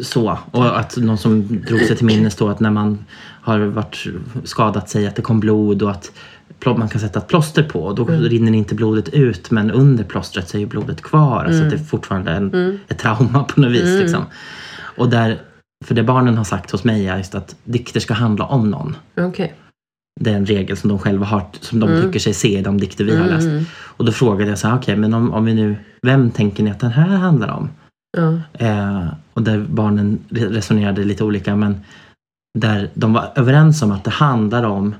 Speaker 1: så. Och att någon som drog sig till minnes då att när man har varit skadat sig att det kom blod och att pl- man kan sätta ett plåster på och då
Speaker 2: Mm.
Speaker 1: rinner inte blodet ut men under plåstret så är ju blodet kvar. Alltså
Speaker 2: Mm.
Speaker 1: att det är fortfarande en,
Speaker 2: Mm.
Speaker 1: ett trauma på något vis.
Speaker 2: Mm.
Speaker 1: Liksom. Och där, för det barnen har sagt hos mig är just att dikter ska handla om någon.
Speaker 2: Okej.
Speaker 1: Det är en regel som de själva har, som de
Speaker 2: Mm.
Speaker 1: tycker sig se i de dikter vi har
Speaker 2: Mm,
Speaker 1: läst.
Speaker 2: mm.
Speaker 1: Och då frågade jag så här, okej men om, om vi nu, vem tänker ni att den här handlar om?
Speaker 2: Ja.
Speaker 1: Eh, och där barnen re- resonerade lite olika men där de var överens om att det handlar om,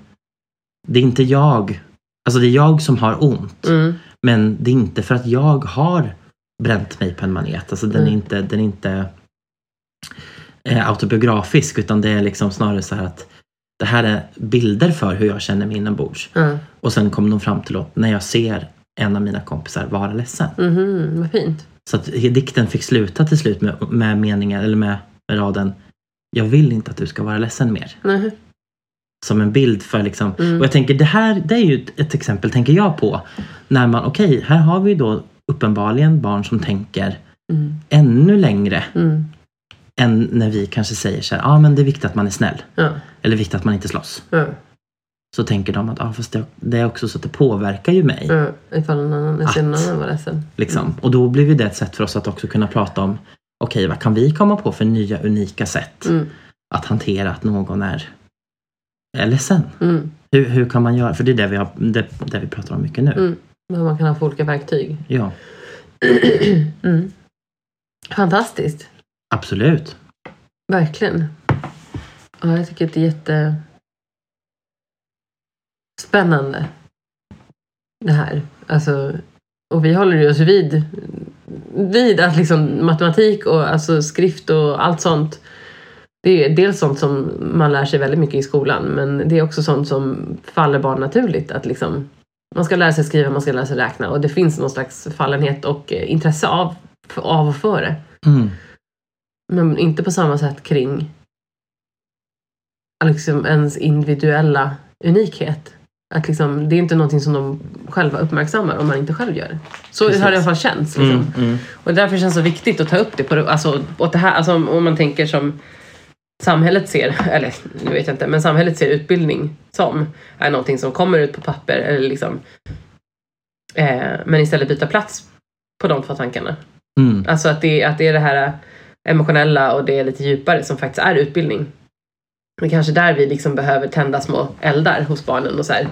Speaker 1: det är inte jag, alltså det är jag som har ont
Speaker 2: Mm.
Speaker 1: men det är inte för att jag har bränt mig på en manet. Alltså den är
Speaker 2: Mm.
Speaker 1: inte, den är inte eh, autobiografisk utan det är liksom snarare så här att det här är bilder för hur jag känner mig inombords.
Speaker 2: Ja.
Speaker 1: Och sen kom de fram till att när jag ser en av mina kompisar vara ledsen.
Speaker 2: Mhm, Vad fint.
Speaker 1: Så att dikten fick sluta till slut med, med meningen, eller med, med raden Jag vill inte att du ska vara ledsen mer.
Speaker 2: Nej.
Speaker 1: Som en bild för liksom
Speaker 2: Mm.
Speaker 1: Och jag tänker det här det är ju ett- ett exempel tänker jag på när man okej här har vi då uppenbarligen barn som tänker
Speaker 2: Mm.
Speaker 1: ännu längre
Speaker 2: Mm.
Speaker 1: än när vi kanske säger så här, ja ah, men det är viktigt att man är snäll
Speaker 2: Ja.
Speaker 1: eller viktigt att man inte slåss.
Speaker 2: Ja.
Speaker 1: Så tänker de att ah, fast det, det är också så att det påverkar ju mig.
Speaker 2: Ja. Ifall någon annan, jag ser någon
Speaker 1: Att.
Speaker 2: annan var ledsen.
Speaker 1: Liksom. Och då blir ju det ett sätt för oss att också kunna prata om okej vad kan vi komma på för nya unika sätt
Speaker 2: Mm.
Speaker 1: att hantera att någon är, är ledsen.
Speaker 2: Mm.
Speaker 1: Hur, hur kan man göra? För det är det vi, har, det, det vi pratar om mycket nu.
Speaker 2: Mm. Men man kan ha för olika verktyg. *clears throat*
Speaker 1: Ja,
Speaker 2: mm. Fantastiskt.
Speaker 1: absolut.
Speaker 2: Verkligen. Ja, jag tycker att det är jätte spännande. Det här. Alltså, och vi håller ju oss vid, vid att liksom matematik och alltså skrift och allt sånt. Det är dels sånt som man lär sig väldigt mycket i skolan men det är också sånt som faller barn naturligt. Att liksom, man ska lära sig skriva, man ska lära sig räkna och det finns någon slags fallenhet och eh, intresse av, av och för det.
Speaker 1: Mm.
Speaker 2: Men inte på samma sätt kring liksom ens individuella unikhet. Att liksom, det är inte någonting som de själva uppmärksammar om man inte själv gör det. Så
Speaker 1: Precis.
Speaker 2: har det i alla fall känts. Liksom.
Speaker 1: Mm, mm.
Speaker 2: Och därför känns det så viktigt att ta upp det. På, det- alltså, åt det här, alltså, om om man tänker som samhället ser, eller nu vet jag inte, men samhället ser utbildning som är någonting som kommer ut på papper eller liksom eh, men istället byta plats på de två tankarna.
Speaker 1: Mm.
Speaker 2: Alltså att det, att det är det här äh, emotionella och det är lite djupare som faktiskt är utbildning. Det är kanske där vi liksom behöver tända små eldar hos barnen och så här.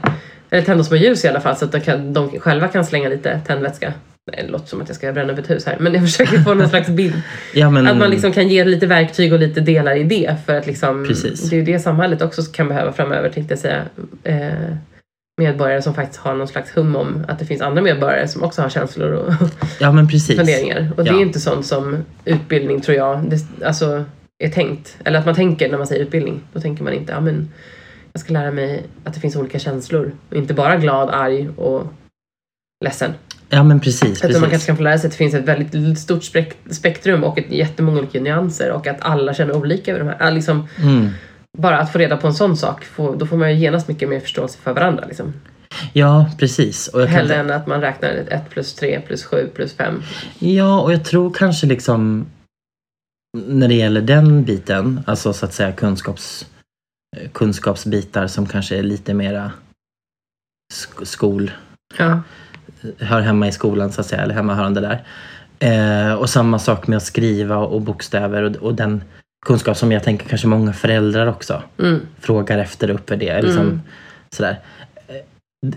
Speaker 2: Eller tända små ljus i alla fall så att de, kan, de själva kan slänga lite tändvätska. Nej, Det låter som att jag ska bränna upp ett hus här men jag försöker få någon slags bild.
Speaker 1: Ja, men,
Speaker 2: Att man liksom kan ge lite verktyg och lite delar i det för att liksom
Speaker 1: Precis.
Speaker 2: Det är ju det samhället också kan behöva framöver tänkte jag säga. Eh, medborgare som faktiskt har någon slags hum om att det finns andra medborgare som också har känslor och
Speaker 1: ja, men precis.
Speaker 2: funderingar. Och det
Speaker 1: Ja.
Speaker 2: är inte sånt som utbildning tror jag det, alltså, är tänkt. Eller att man tänker när man säger utbildning. Då tänker man inte, ja men jag ska lära mig att det finns olika känslor. Och inte bara glad, arg och ledsen.
Speaker 1: Ja, men precis.
Speaker 2: Utan
Speaker 1: precis.
Speaker 2: man kanske kan få lära sig att det finns ett väldigt stort spek- spektrum och ett jättemånga olika nyanser och att alla känner olika över de här. Ja, Liksom,
Speaker 1: Mm.
Speaker 2: bara att få reda på en sån sak, få, då får man ju genast mycket mer förståelse för varandra. Liksom.
Speaker 1: Ja, precis. Och jag kan
Speaker 2: Hellre än att man räknar ett plus tre plus sju plus fem
Speaker 1: Ja, och jag tror kanske liksom när det gäller den biten, alltså så att säga kunskaps, eh, kunskapsbitar som kanske är lite mera sk- skol,
Speaker 2: Ja.
Speaker 1: hör hemma i skolan så att säga, eller hemmahörande där. Eh, och samma sak med att skriva och bokstäver och, och den kunskap som jag tänker kanske många föräldrar också
Speaker 2: Mm.
Speaker 1: frågar efter och uppvärderar. Liksom,
Speaker 2: Mm.
Speaker 1: sådär. Eh, d-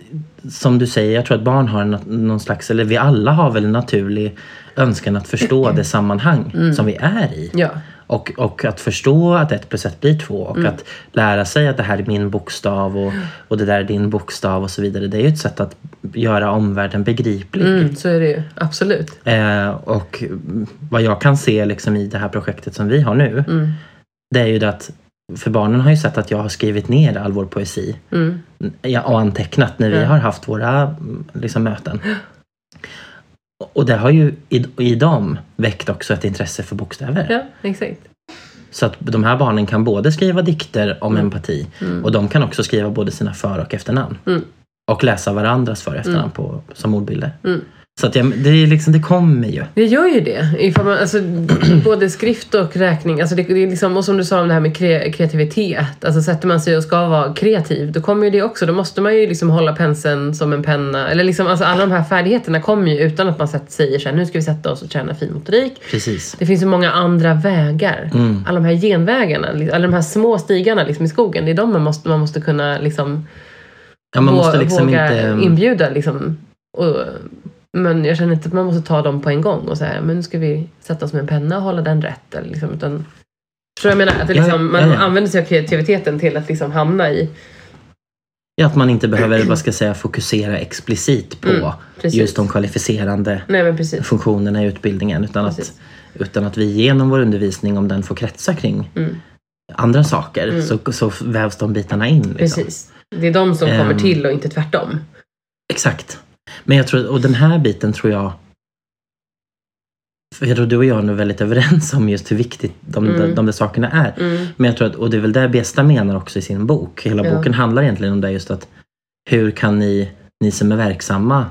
Speaker 1: Som du säger, jag tror att barn har en nat- någon slags, eller
Speaker 2: Mm.
Speaker 1: vi alla har väl en naturlig önskan att förstå det sammanhang som vi är i.
Speaker 2: Ja.
Speaker 1: Och, och att förstå att ett plus ett blir två och
Speaker 2: Mm.
Speaker 1: att lära sig att det här är min bokstav och, och det där är din bokstav och så vidare. Det är ju ett sätt att göra omvärlden begriplig.
Speaker 2: Mm, så är det ju. Absolut.
Speaker 1: Eh, och mm, vad jag kan se liksom i det här projektet som vi har nu,
Speaker 2: Mm,
Speaker 1: det är ju det att för barnen har ju sett att jag har skrivit ner all vår poesi
Speaker 2: mm,
Speaker 1: ja, och antecknat när vi
Speaker 2: Ja.
Speaker 1: har haft våra mm, liksom, möten. Och det har ju i, i dem väckt också ett intresse för bokstäver.
Speaker 2: ja, exakt.
Speaker 1: Så att de här barnen kan både skriva dikter om
Speaker 2: Mm.
Speaker 1: empati
Speaker 2: Mm.
Speaker 1: och de kan också skriva både sina för och efternamn.
Speaker 2: Mm.
Speaker 1: Och läsa varandras för och efternamn
Speaker 2: Mm.
Speaker 1: på, som ordbilder.
Speaker 2: Mm.
Speaker 1: Så att jag, det, är liksom, det kommer ju.
Speaker 2: Det gör ju det. Ifall man, alltså, *clears throat* både skrift och räkning. Alltså det, det är liksom, och som du sa om det här med kre, kreativitet. Alltså sätter man sig och ska vara kreativ, då kommer ju det också. Då måste man ju liksom hålla penseln som en penna. Eller liksom, alltså alla de här färdigheterna kommer ju utan att man sätter, säger så här, nu ska vi sätta oss och träna finmotorik.
Speaker 1: Precis.
Speaker 2: Det finns så många andra vägar.
Speaker 1: Mm.
Speaker 2: Alla de här genvägarna, li- alla de här små stigarna liksom i skogen. Det är de man måste, man måste kunna liksom,
Speaker 1: Ja, man
Speaker 2: vå-
Speaker 1: måste liksom
Speaker 2: våga
Speaker 1: inte... mm,
Speaker 2: inbjuda. Liksom. Och, men jag känner inte att man måste ta dem på en gång och säga men nu ska vi sätta oss med en penna och hålla den rätt. Eller liksom, utan, tror jag menar? Att det
Speaker 1: Ja,
Speaker 2: liksom,
Speaker 1: ja,
Speaker 2: man
Speaker 1: ja.
Speaker 2: använder sig av kreativiteten till att liksom hamna i...
Speaker 1: Ja, att man inte behöver vad ska jag säga, fokusera explicit på
Speaker 2: Mm, precis.
Speaker 1: just de kvalificerande
Speaker 2: Nej men precis.
Speaker 1: funktionerna i utbildningen utan att,
Speaker 2: Precis.
Speaker 1: utan att vi genom vår undervisning, om den får kretsa kring
Speaker 2: Mm.
Speaker 1: andra saker,
Speaker 2: Mm.
Speaker 1: så, så vävs de bitarna in. Liksom.
Speaker 2: precis. Det är de som kommer
Speaker 1: Ehm.
Speaker 2: till och inte tvärtom.
Speaker 1: Exakt. Men jag tror, och den här biten tror jag för jag tror du och jag är nog väldigt överens om just hur viktigt de,
Speaker 2: Mm.
Speaker 1: de, de där sakerna är.
Speaker 2: Mm.
Speaker 1: Men jag tror att, och det är väl det Besta menar också i sin bok. Hela
Speaker 2: Ja.
Speaker 1: boken handlar egentligen om det just att hur kan ni, ni som är verksamma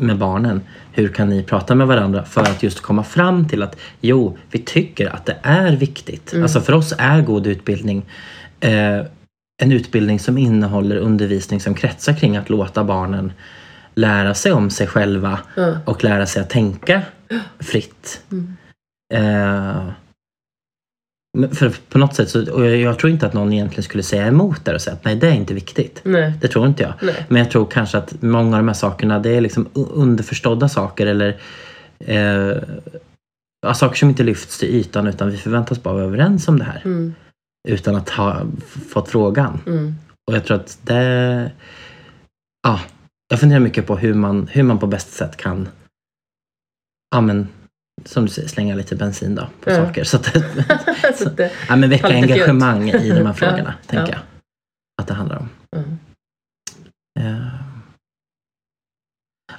Speaker 1: med barnen, hur kan ni prata med varandra för att just komma fram till att jo, vi tycker att det är viktigt.
Speaker 2: Mm.
Speaker 1: Alltså för oss är god utbildning eh, en utbildning som innehåller undervisning som kretsar kring att låta barnen lära sig om sig själva
Speaker 2: Ja.
Speaker 1: och lära sig att tänka fritt.
Speaker 2: Mm.
Speaker 1: Eh, men för på något sätt så, och jag, jag tror inte att någon egentligen skulle säga emot det och säga att nej, det är inte viktigt.
Speaker 2: Nej.
Speaker 1: Det tror inte jag.
Speaker 2: Nej.
Speaker 1: Men jag tror kanske att många av de här sakerna, det är liksom u- underförstådda saker eller eh, ja, saker som inte lyfts till ytan utan vi förväntas bara vara överens om det här
Speaker 2: Mm.
Speaker 1: utan att ha f- fått frågan.
Speaker 2: Mm. *laughs*
Speaker 1: Och jag tror att det... Ja, jag funderar mycket på hur man, hur man på bästa sätt kan ja, men, som du säger, slänga lite bensin då, på
Speaker 2: Ja.
Speaker 1: saker. Så att,
Speaker 2: *laughs* Så att det-
Speaker 1: ja, men väcka
Speaker 2: Ta lite fjutt.
Speaker 1: engagemang i de här
Speaker 2: *laughs* Ja,
Speaker 1: frågorna, tänker
Speaker 2: ja.
Speaker 1: jag. Att det handlar om.
Speaker 2: Mm.
Speaker 1: Eh,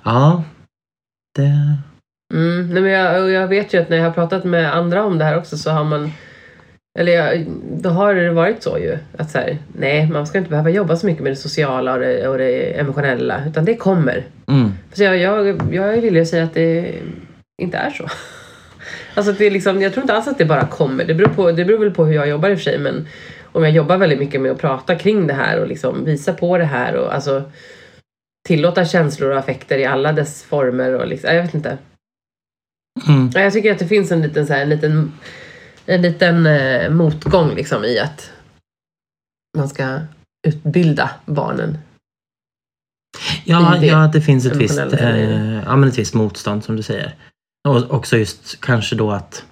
Speaker 1: Ja, det...
Speaker 2: Mm. Nej, men jag, och jag vet ju att när jag har pratat med andra om det här också så har man eller jag, då har det varit så ju att så här, nej man ska inte behöva jobba så mycket med det sociala och det, och det emotionella utan det kommer.
Speaker 1: Mm.
Speaker 2: Så jag, jag, jag är villig att säga att det inte är så. *laughs* Alltså att det är liksom, jag tror inte alls att det bara kommer. Det beror, på, det beror väl på hur jag jobbar i och för sig men om jag jobbar väldigt mycket med att prata kring det här och liksom visa på det här och alltså tillåta känslor och affekter i alla dess former och liksom, jag vet inte.
Speaker 1: Mm.
Speaker 2: Ja, Jag tycker att det finns en liten, så här, en liten, en liten eh, motgång liksom, i att man ska utbilda barnen.
Speaker 1: Ja,
Speaker 2: i det
Speaker 1: ja, att det finns ett visst,
Speaker 2: emotionella i det.
Speaker 1: eh, ja, men ett visst motstånd som du säger. Och också just kanske då att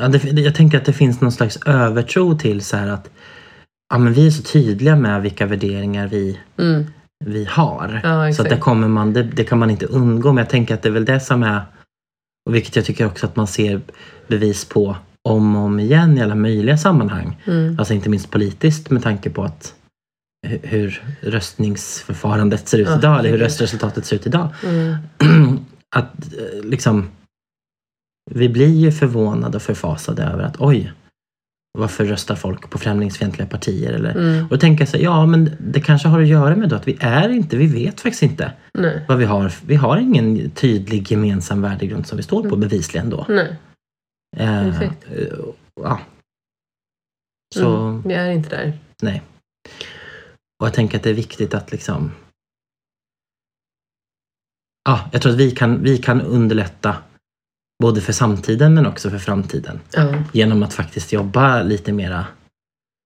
Speaker 1: ja, det, det- jag tänker att det finns någon slags övertro till så här att ja, men vi är så tydliga med vilka värderingar vi,
Speaker 2: Mm.
Speaker 1: vi har.
Speaker 2: Ja,
Speaker 1: så
Speaker 2: exakt.
Speaker 1: att det, kommer man, det, det kan man inte undgå. Men jag tänker att det är väl det som är, och vilket jag tycker också att man ser bevis på om och om igen i alla möjliga sammanhang.
Speaker 2: Mm.
Speaker 1: Alltså inte minst politiskt med tanke på att hu- hur röstningsförfarandet ser ut
Speaker 2: Ja,
Speaker 1: idag, eller hur
Speaker 2: herregud.
Speaker 1: röstresultatet ser ut idag. *clears throat*
Speaker 2: Mm.
Speaker 1: att eh, liksom, vi blir ju förvånade och förfasade över att oj, varför röstar folk på främlingsfientliga partier? Eller,
Speaker 2: Mm.
Speaker 1: Och då tänker jag så här, ja men det kanske har att göra med då att vi är inte, vi vet faktiskt inte
Speaker 2: Nej.
Speaker 1: vad vi har. Vi har ingen tydlig gemensam värdegrund som vi står
Speaker 2: Mm.
Speaker 1: på bevisligen då.
Speaker 2: Nej.
Speaker 1: Eh,
Speaker 2: Perfekt.
Speaker 1: eh, ja. Så...
Speaker 2: Mm. Vi är inte där.
Speaker 1: Och jag tänker att det är viktigt att liksom... Ja, jag tror att vi kan, vi kan underlätta både för samtiden men också för framtiden
Speaker 2: Ja.
Speaker 1: genom att faktiskt jobba lite mera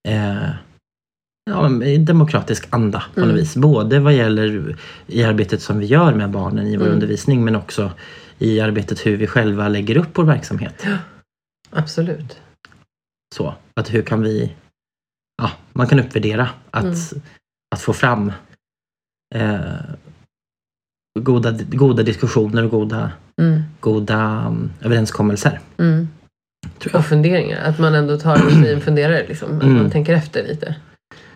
Speaker 1: eh, ja, men i demokratisk anda på något
Speaker 2: Mm.
Speaker 1: vis. Både vad gäller i arbetet som vi gör med barnen i vår
Speaker 2: Mm.
Speaker 1: undervisning men också i arbetet hur vi själva lägger upp vår verksamhet.
Speaker 2: Ja. Absolut.
Speaker 1: Så, att hur kan vi... Ja, man kan uppvärdera att,
Speaker 2: Mm.
Speaker 1: att få fram eh, goda, goda diskussioner och goda,
Speaker 2: Mm.
Speaker 1: goda mm, överenskommelser.
Speaker 2: Mm.
Speaker 1: Tror jag.
Speaker 2: Och funderingar. Att man ändå tar sig en funderare. Liksom. Att
Speaker 1: Mm.
Speaker 2: man tänker efter lite.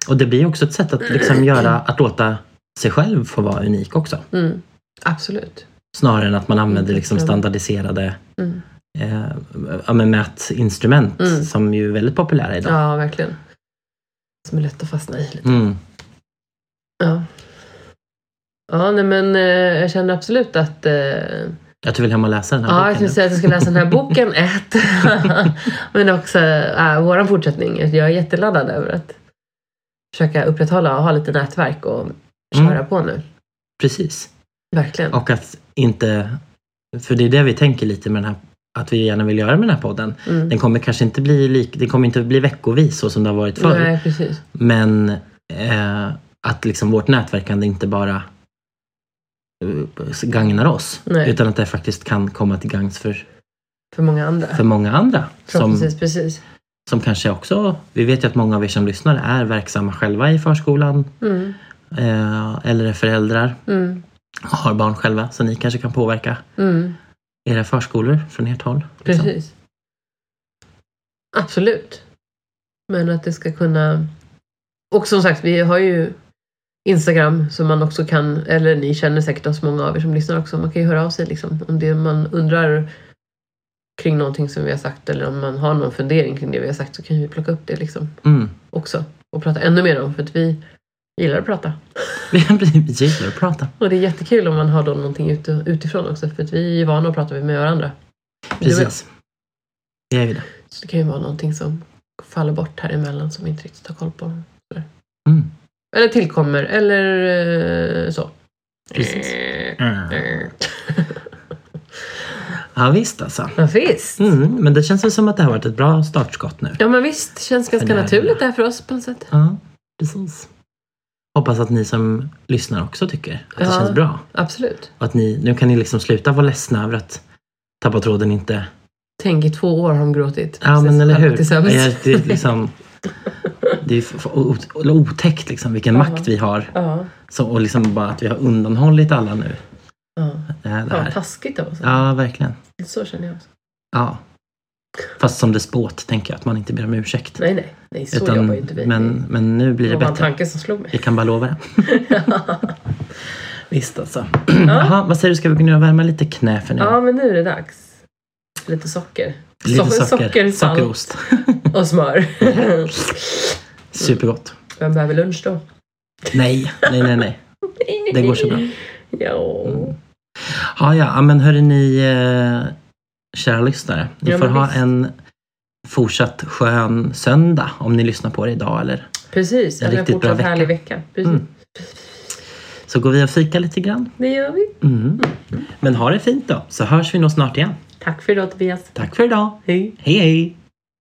Speaker 1: Och det blir också ett sätt att,
Speaker 2: *clears throat*
Speaker 1: liksom göra, att låta sig själv få vara unik också.
Speaker 2: Mm. Absolut.
Speaker 1: Snarare än att man använder
Speaker 2: Mm,
Speaker 1: liksom
Speaker 2: verkligen.
Speaker 1: standardiserade
Speaker 2: Mm.
Speaker 1: eh, ja, men mätinstrument
Speaker 2: Mm.
Speaker 1: som ju är väldigt populära idag.
Speaker 2: Ja, verkligen. Som är lätt att fastna i. Lite.
Speaker 1: Mm.
Speaker 2: Ja. Ja, nej men eh, jag känner absolut att... Eh,
Speaker 1: Att du vill hem och läsa den här
Speaker 2: ja,
Speaker 1: boken.
Speaker 2: jag skulle säga att jag ska läsa den här boken, *laughs* ett. men också eh, vår fortsättning. Jag är jätteladdad över att försöka upprätthålla och ha lite nätverk och köra
Speaker 1: Mm.
Speaker 2: på nu.
Speaker 1: Precis.
Speaker 2: Verkligen.
Speaker 1: Och att inte... För det är det vi tänker lite med den här att vi gärna vill göra med den här podden.
Speaker 2: Mm.
Speaker 1: Den kommer kanske inte bli, lik, den kommer inte bli veckovis så som det har varit förr.
Speaker 2: Nej, precis.
Speaker 1: Men eh, att liksom vårt nätverkande inte bara eh, gagnar oss.
Speaker 2: Nej.
Speaker 1: Utan att det faktiskt kan komma till gagns för,
Speaker 2: För många andra.
Speaker 1: för många andra. Som,
Speaker 2: Förhoppningsvis, precis.
Speaker 1: som kanske också, vi vet ju att många av er som lyssnar är verksamma själva i förskolan.
Speaker 2: Mm.
Speaker 1: Eh, eller är föräldrar
Speaker 2: Mm.
Speaker 1: och har barn själva. Så ni kanske kan påverka
Speaker 2: Mm.
Speaker 1: era förskolor från ert håll. liksom.
Speaker 2: Precis. Absolut. Men att det ska kunna... Och som sagt, vi har ju Instagram som man också kan, eller ni känner säkert oss, många av er som lyssnar också, man kan ju höra av sig liksom om det man undrar kring någonting som vi har sagt eller om man har någon fundering kring det vi har sagt så kan vi plocka upp det liksom
Speaker 1: Mm.
Speaker 2: också och prata ännu mer om för att vi gillar att prata.
Speaker 1: *laughs* Vi kan bli gillar att prata.
Speaker 2: Och det är jättekul om man har då någonting ute, utifrån också för att vi är ju vana att prata med varandra. Du och jag.
Speaker 1: Precis. Det är ju det.
Speaker 2: Så det kan ju vara någonting som faller bort här emellan som vi inte riktigt har koll på.
Speaker 1: Mm.
Speaker 2: Eller tillkommer, eller eh, så.
Speaker 1: Precis.
Speaker 2: Eh,
Speaker 1: Mm.
Speaker 2: eh.
Speaker 1: Ja visst alltså.
Speaker 2: Ja, visst.
Speaker 1: Mm. Men det känns väl som att det har varit ett bra startskott nu.
Speaker 2: Ja men visst, det känns ganska
Speaker 1: För det här-
Speaker 2: naturligt det här för oss på något sätt.
Speaker 1: Ja, precis. Hoppas att ni som lyssnar också tycker att det
Speaker 2: Ja.
Speaker 1: känns bra.
Speaker 2: Absolut.
Speaker 1: Och att ni, nu kan ni liksom sluta vara ledsna över att Tappa tråden inte...
Speaker 2: Tänk i två år har de gråtit.
Speaker 1: Ja men eller hur.
Speaker 2: Tillsammans.
Speaker 1: Ja, det är liksom... Det är ju f- o- otäckt liksom vilken
Speaker 2: Ja.
Speaker 1: makt vi har.
Speaker 2: Ja.
Speaker 1: Så, och liksom bara att vi har undanhållit alla nu.
Speaker 2: ja.
Speaker 1: eh, Det
Speaker 2: Fan vad
Speaker 1: här.
Speaker 2: taskigt av oss.
Speaker 1: Ja, verkligen.
Speaker 2: Så känner jag också.
Speaker 1: Ja. Fast som despot tänker jag att man inte ber om ursäkt.
Speaker 2: Nej nej, nej så
Speaker 1: Utan-
Speaker 2: jobbar ju inte vi.
Speaker 1: men, men nu blir
Speaker 2: det
Speaker 1: det
Speaker 2: var en
Speaker 1: bättre.
Speaker 2: tanke som slog mig.
Speaker 1: Vi kan bara lova det. Visst alltså. *clears throat* Jaha, vad säger du, ska vi kunna värma lite knä för nu?
Speaker 2: ja men nu är det dags. Lite socker.
Speaker 1: lite
Speaker 2: so-
Speaker 1: socker,
Speaker 2: socker, salt.
Speaker 1: sockerost.
Speaker 2: Och smör.
Speaker 1: Supergott.
Speaker 2: Vem behöver lunch då?
Speaker 1: Nej, nej, nej, nej. Det går så bra. Mm.
Speaker 2: Ja.
Speaker 1: Ja, ja, ja, men hörni ni eh, kära lyssnare. Ni
Speaker 2: Ja,
Speaker 1: får
Speaker 2: men
Speaker 1: ha
Speaker 2: visst.
Speaker 1: en fortsatt skön söndag om ni lyssnar på det idag. Eller?
Speaker 2: Precis,
Speaker 1: En
Speaker 2: eller en
Speaker 1: riktigt bra
Speaker 2: fortsatt
Speaker 1: vecka.
Speaker 2: härlig vecka. Precis.
Speaker 1: Mm. Så går vi och fika lite grann.
Speaker 2: Det gör vi.
Speaker 1: Mm. Men ha det fint då, så hörs vi nog snart igen.
Speaker 2: Tack för idag Tobias.
Speaker 1: Tack för idag.
Speaker 2: Hej.
Speaker 1: Hej, hej!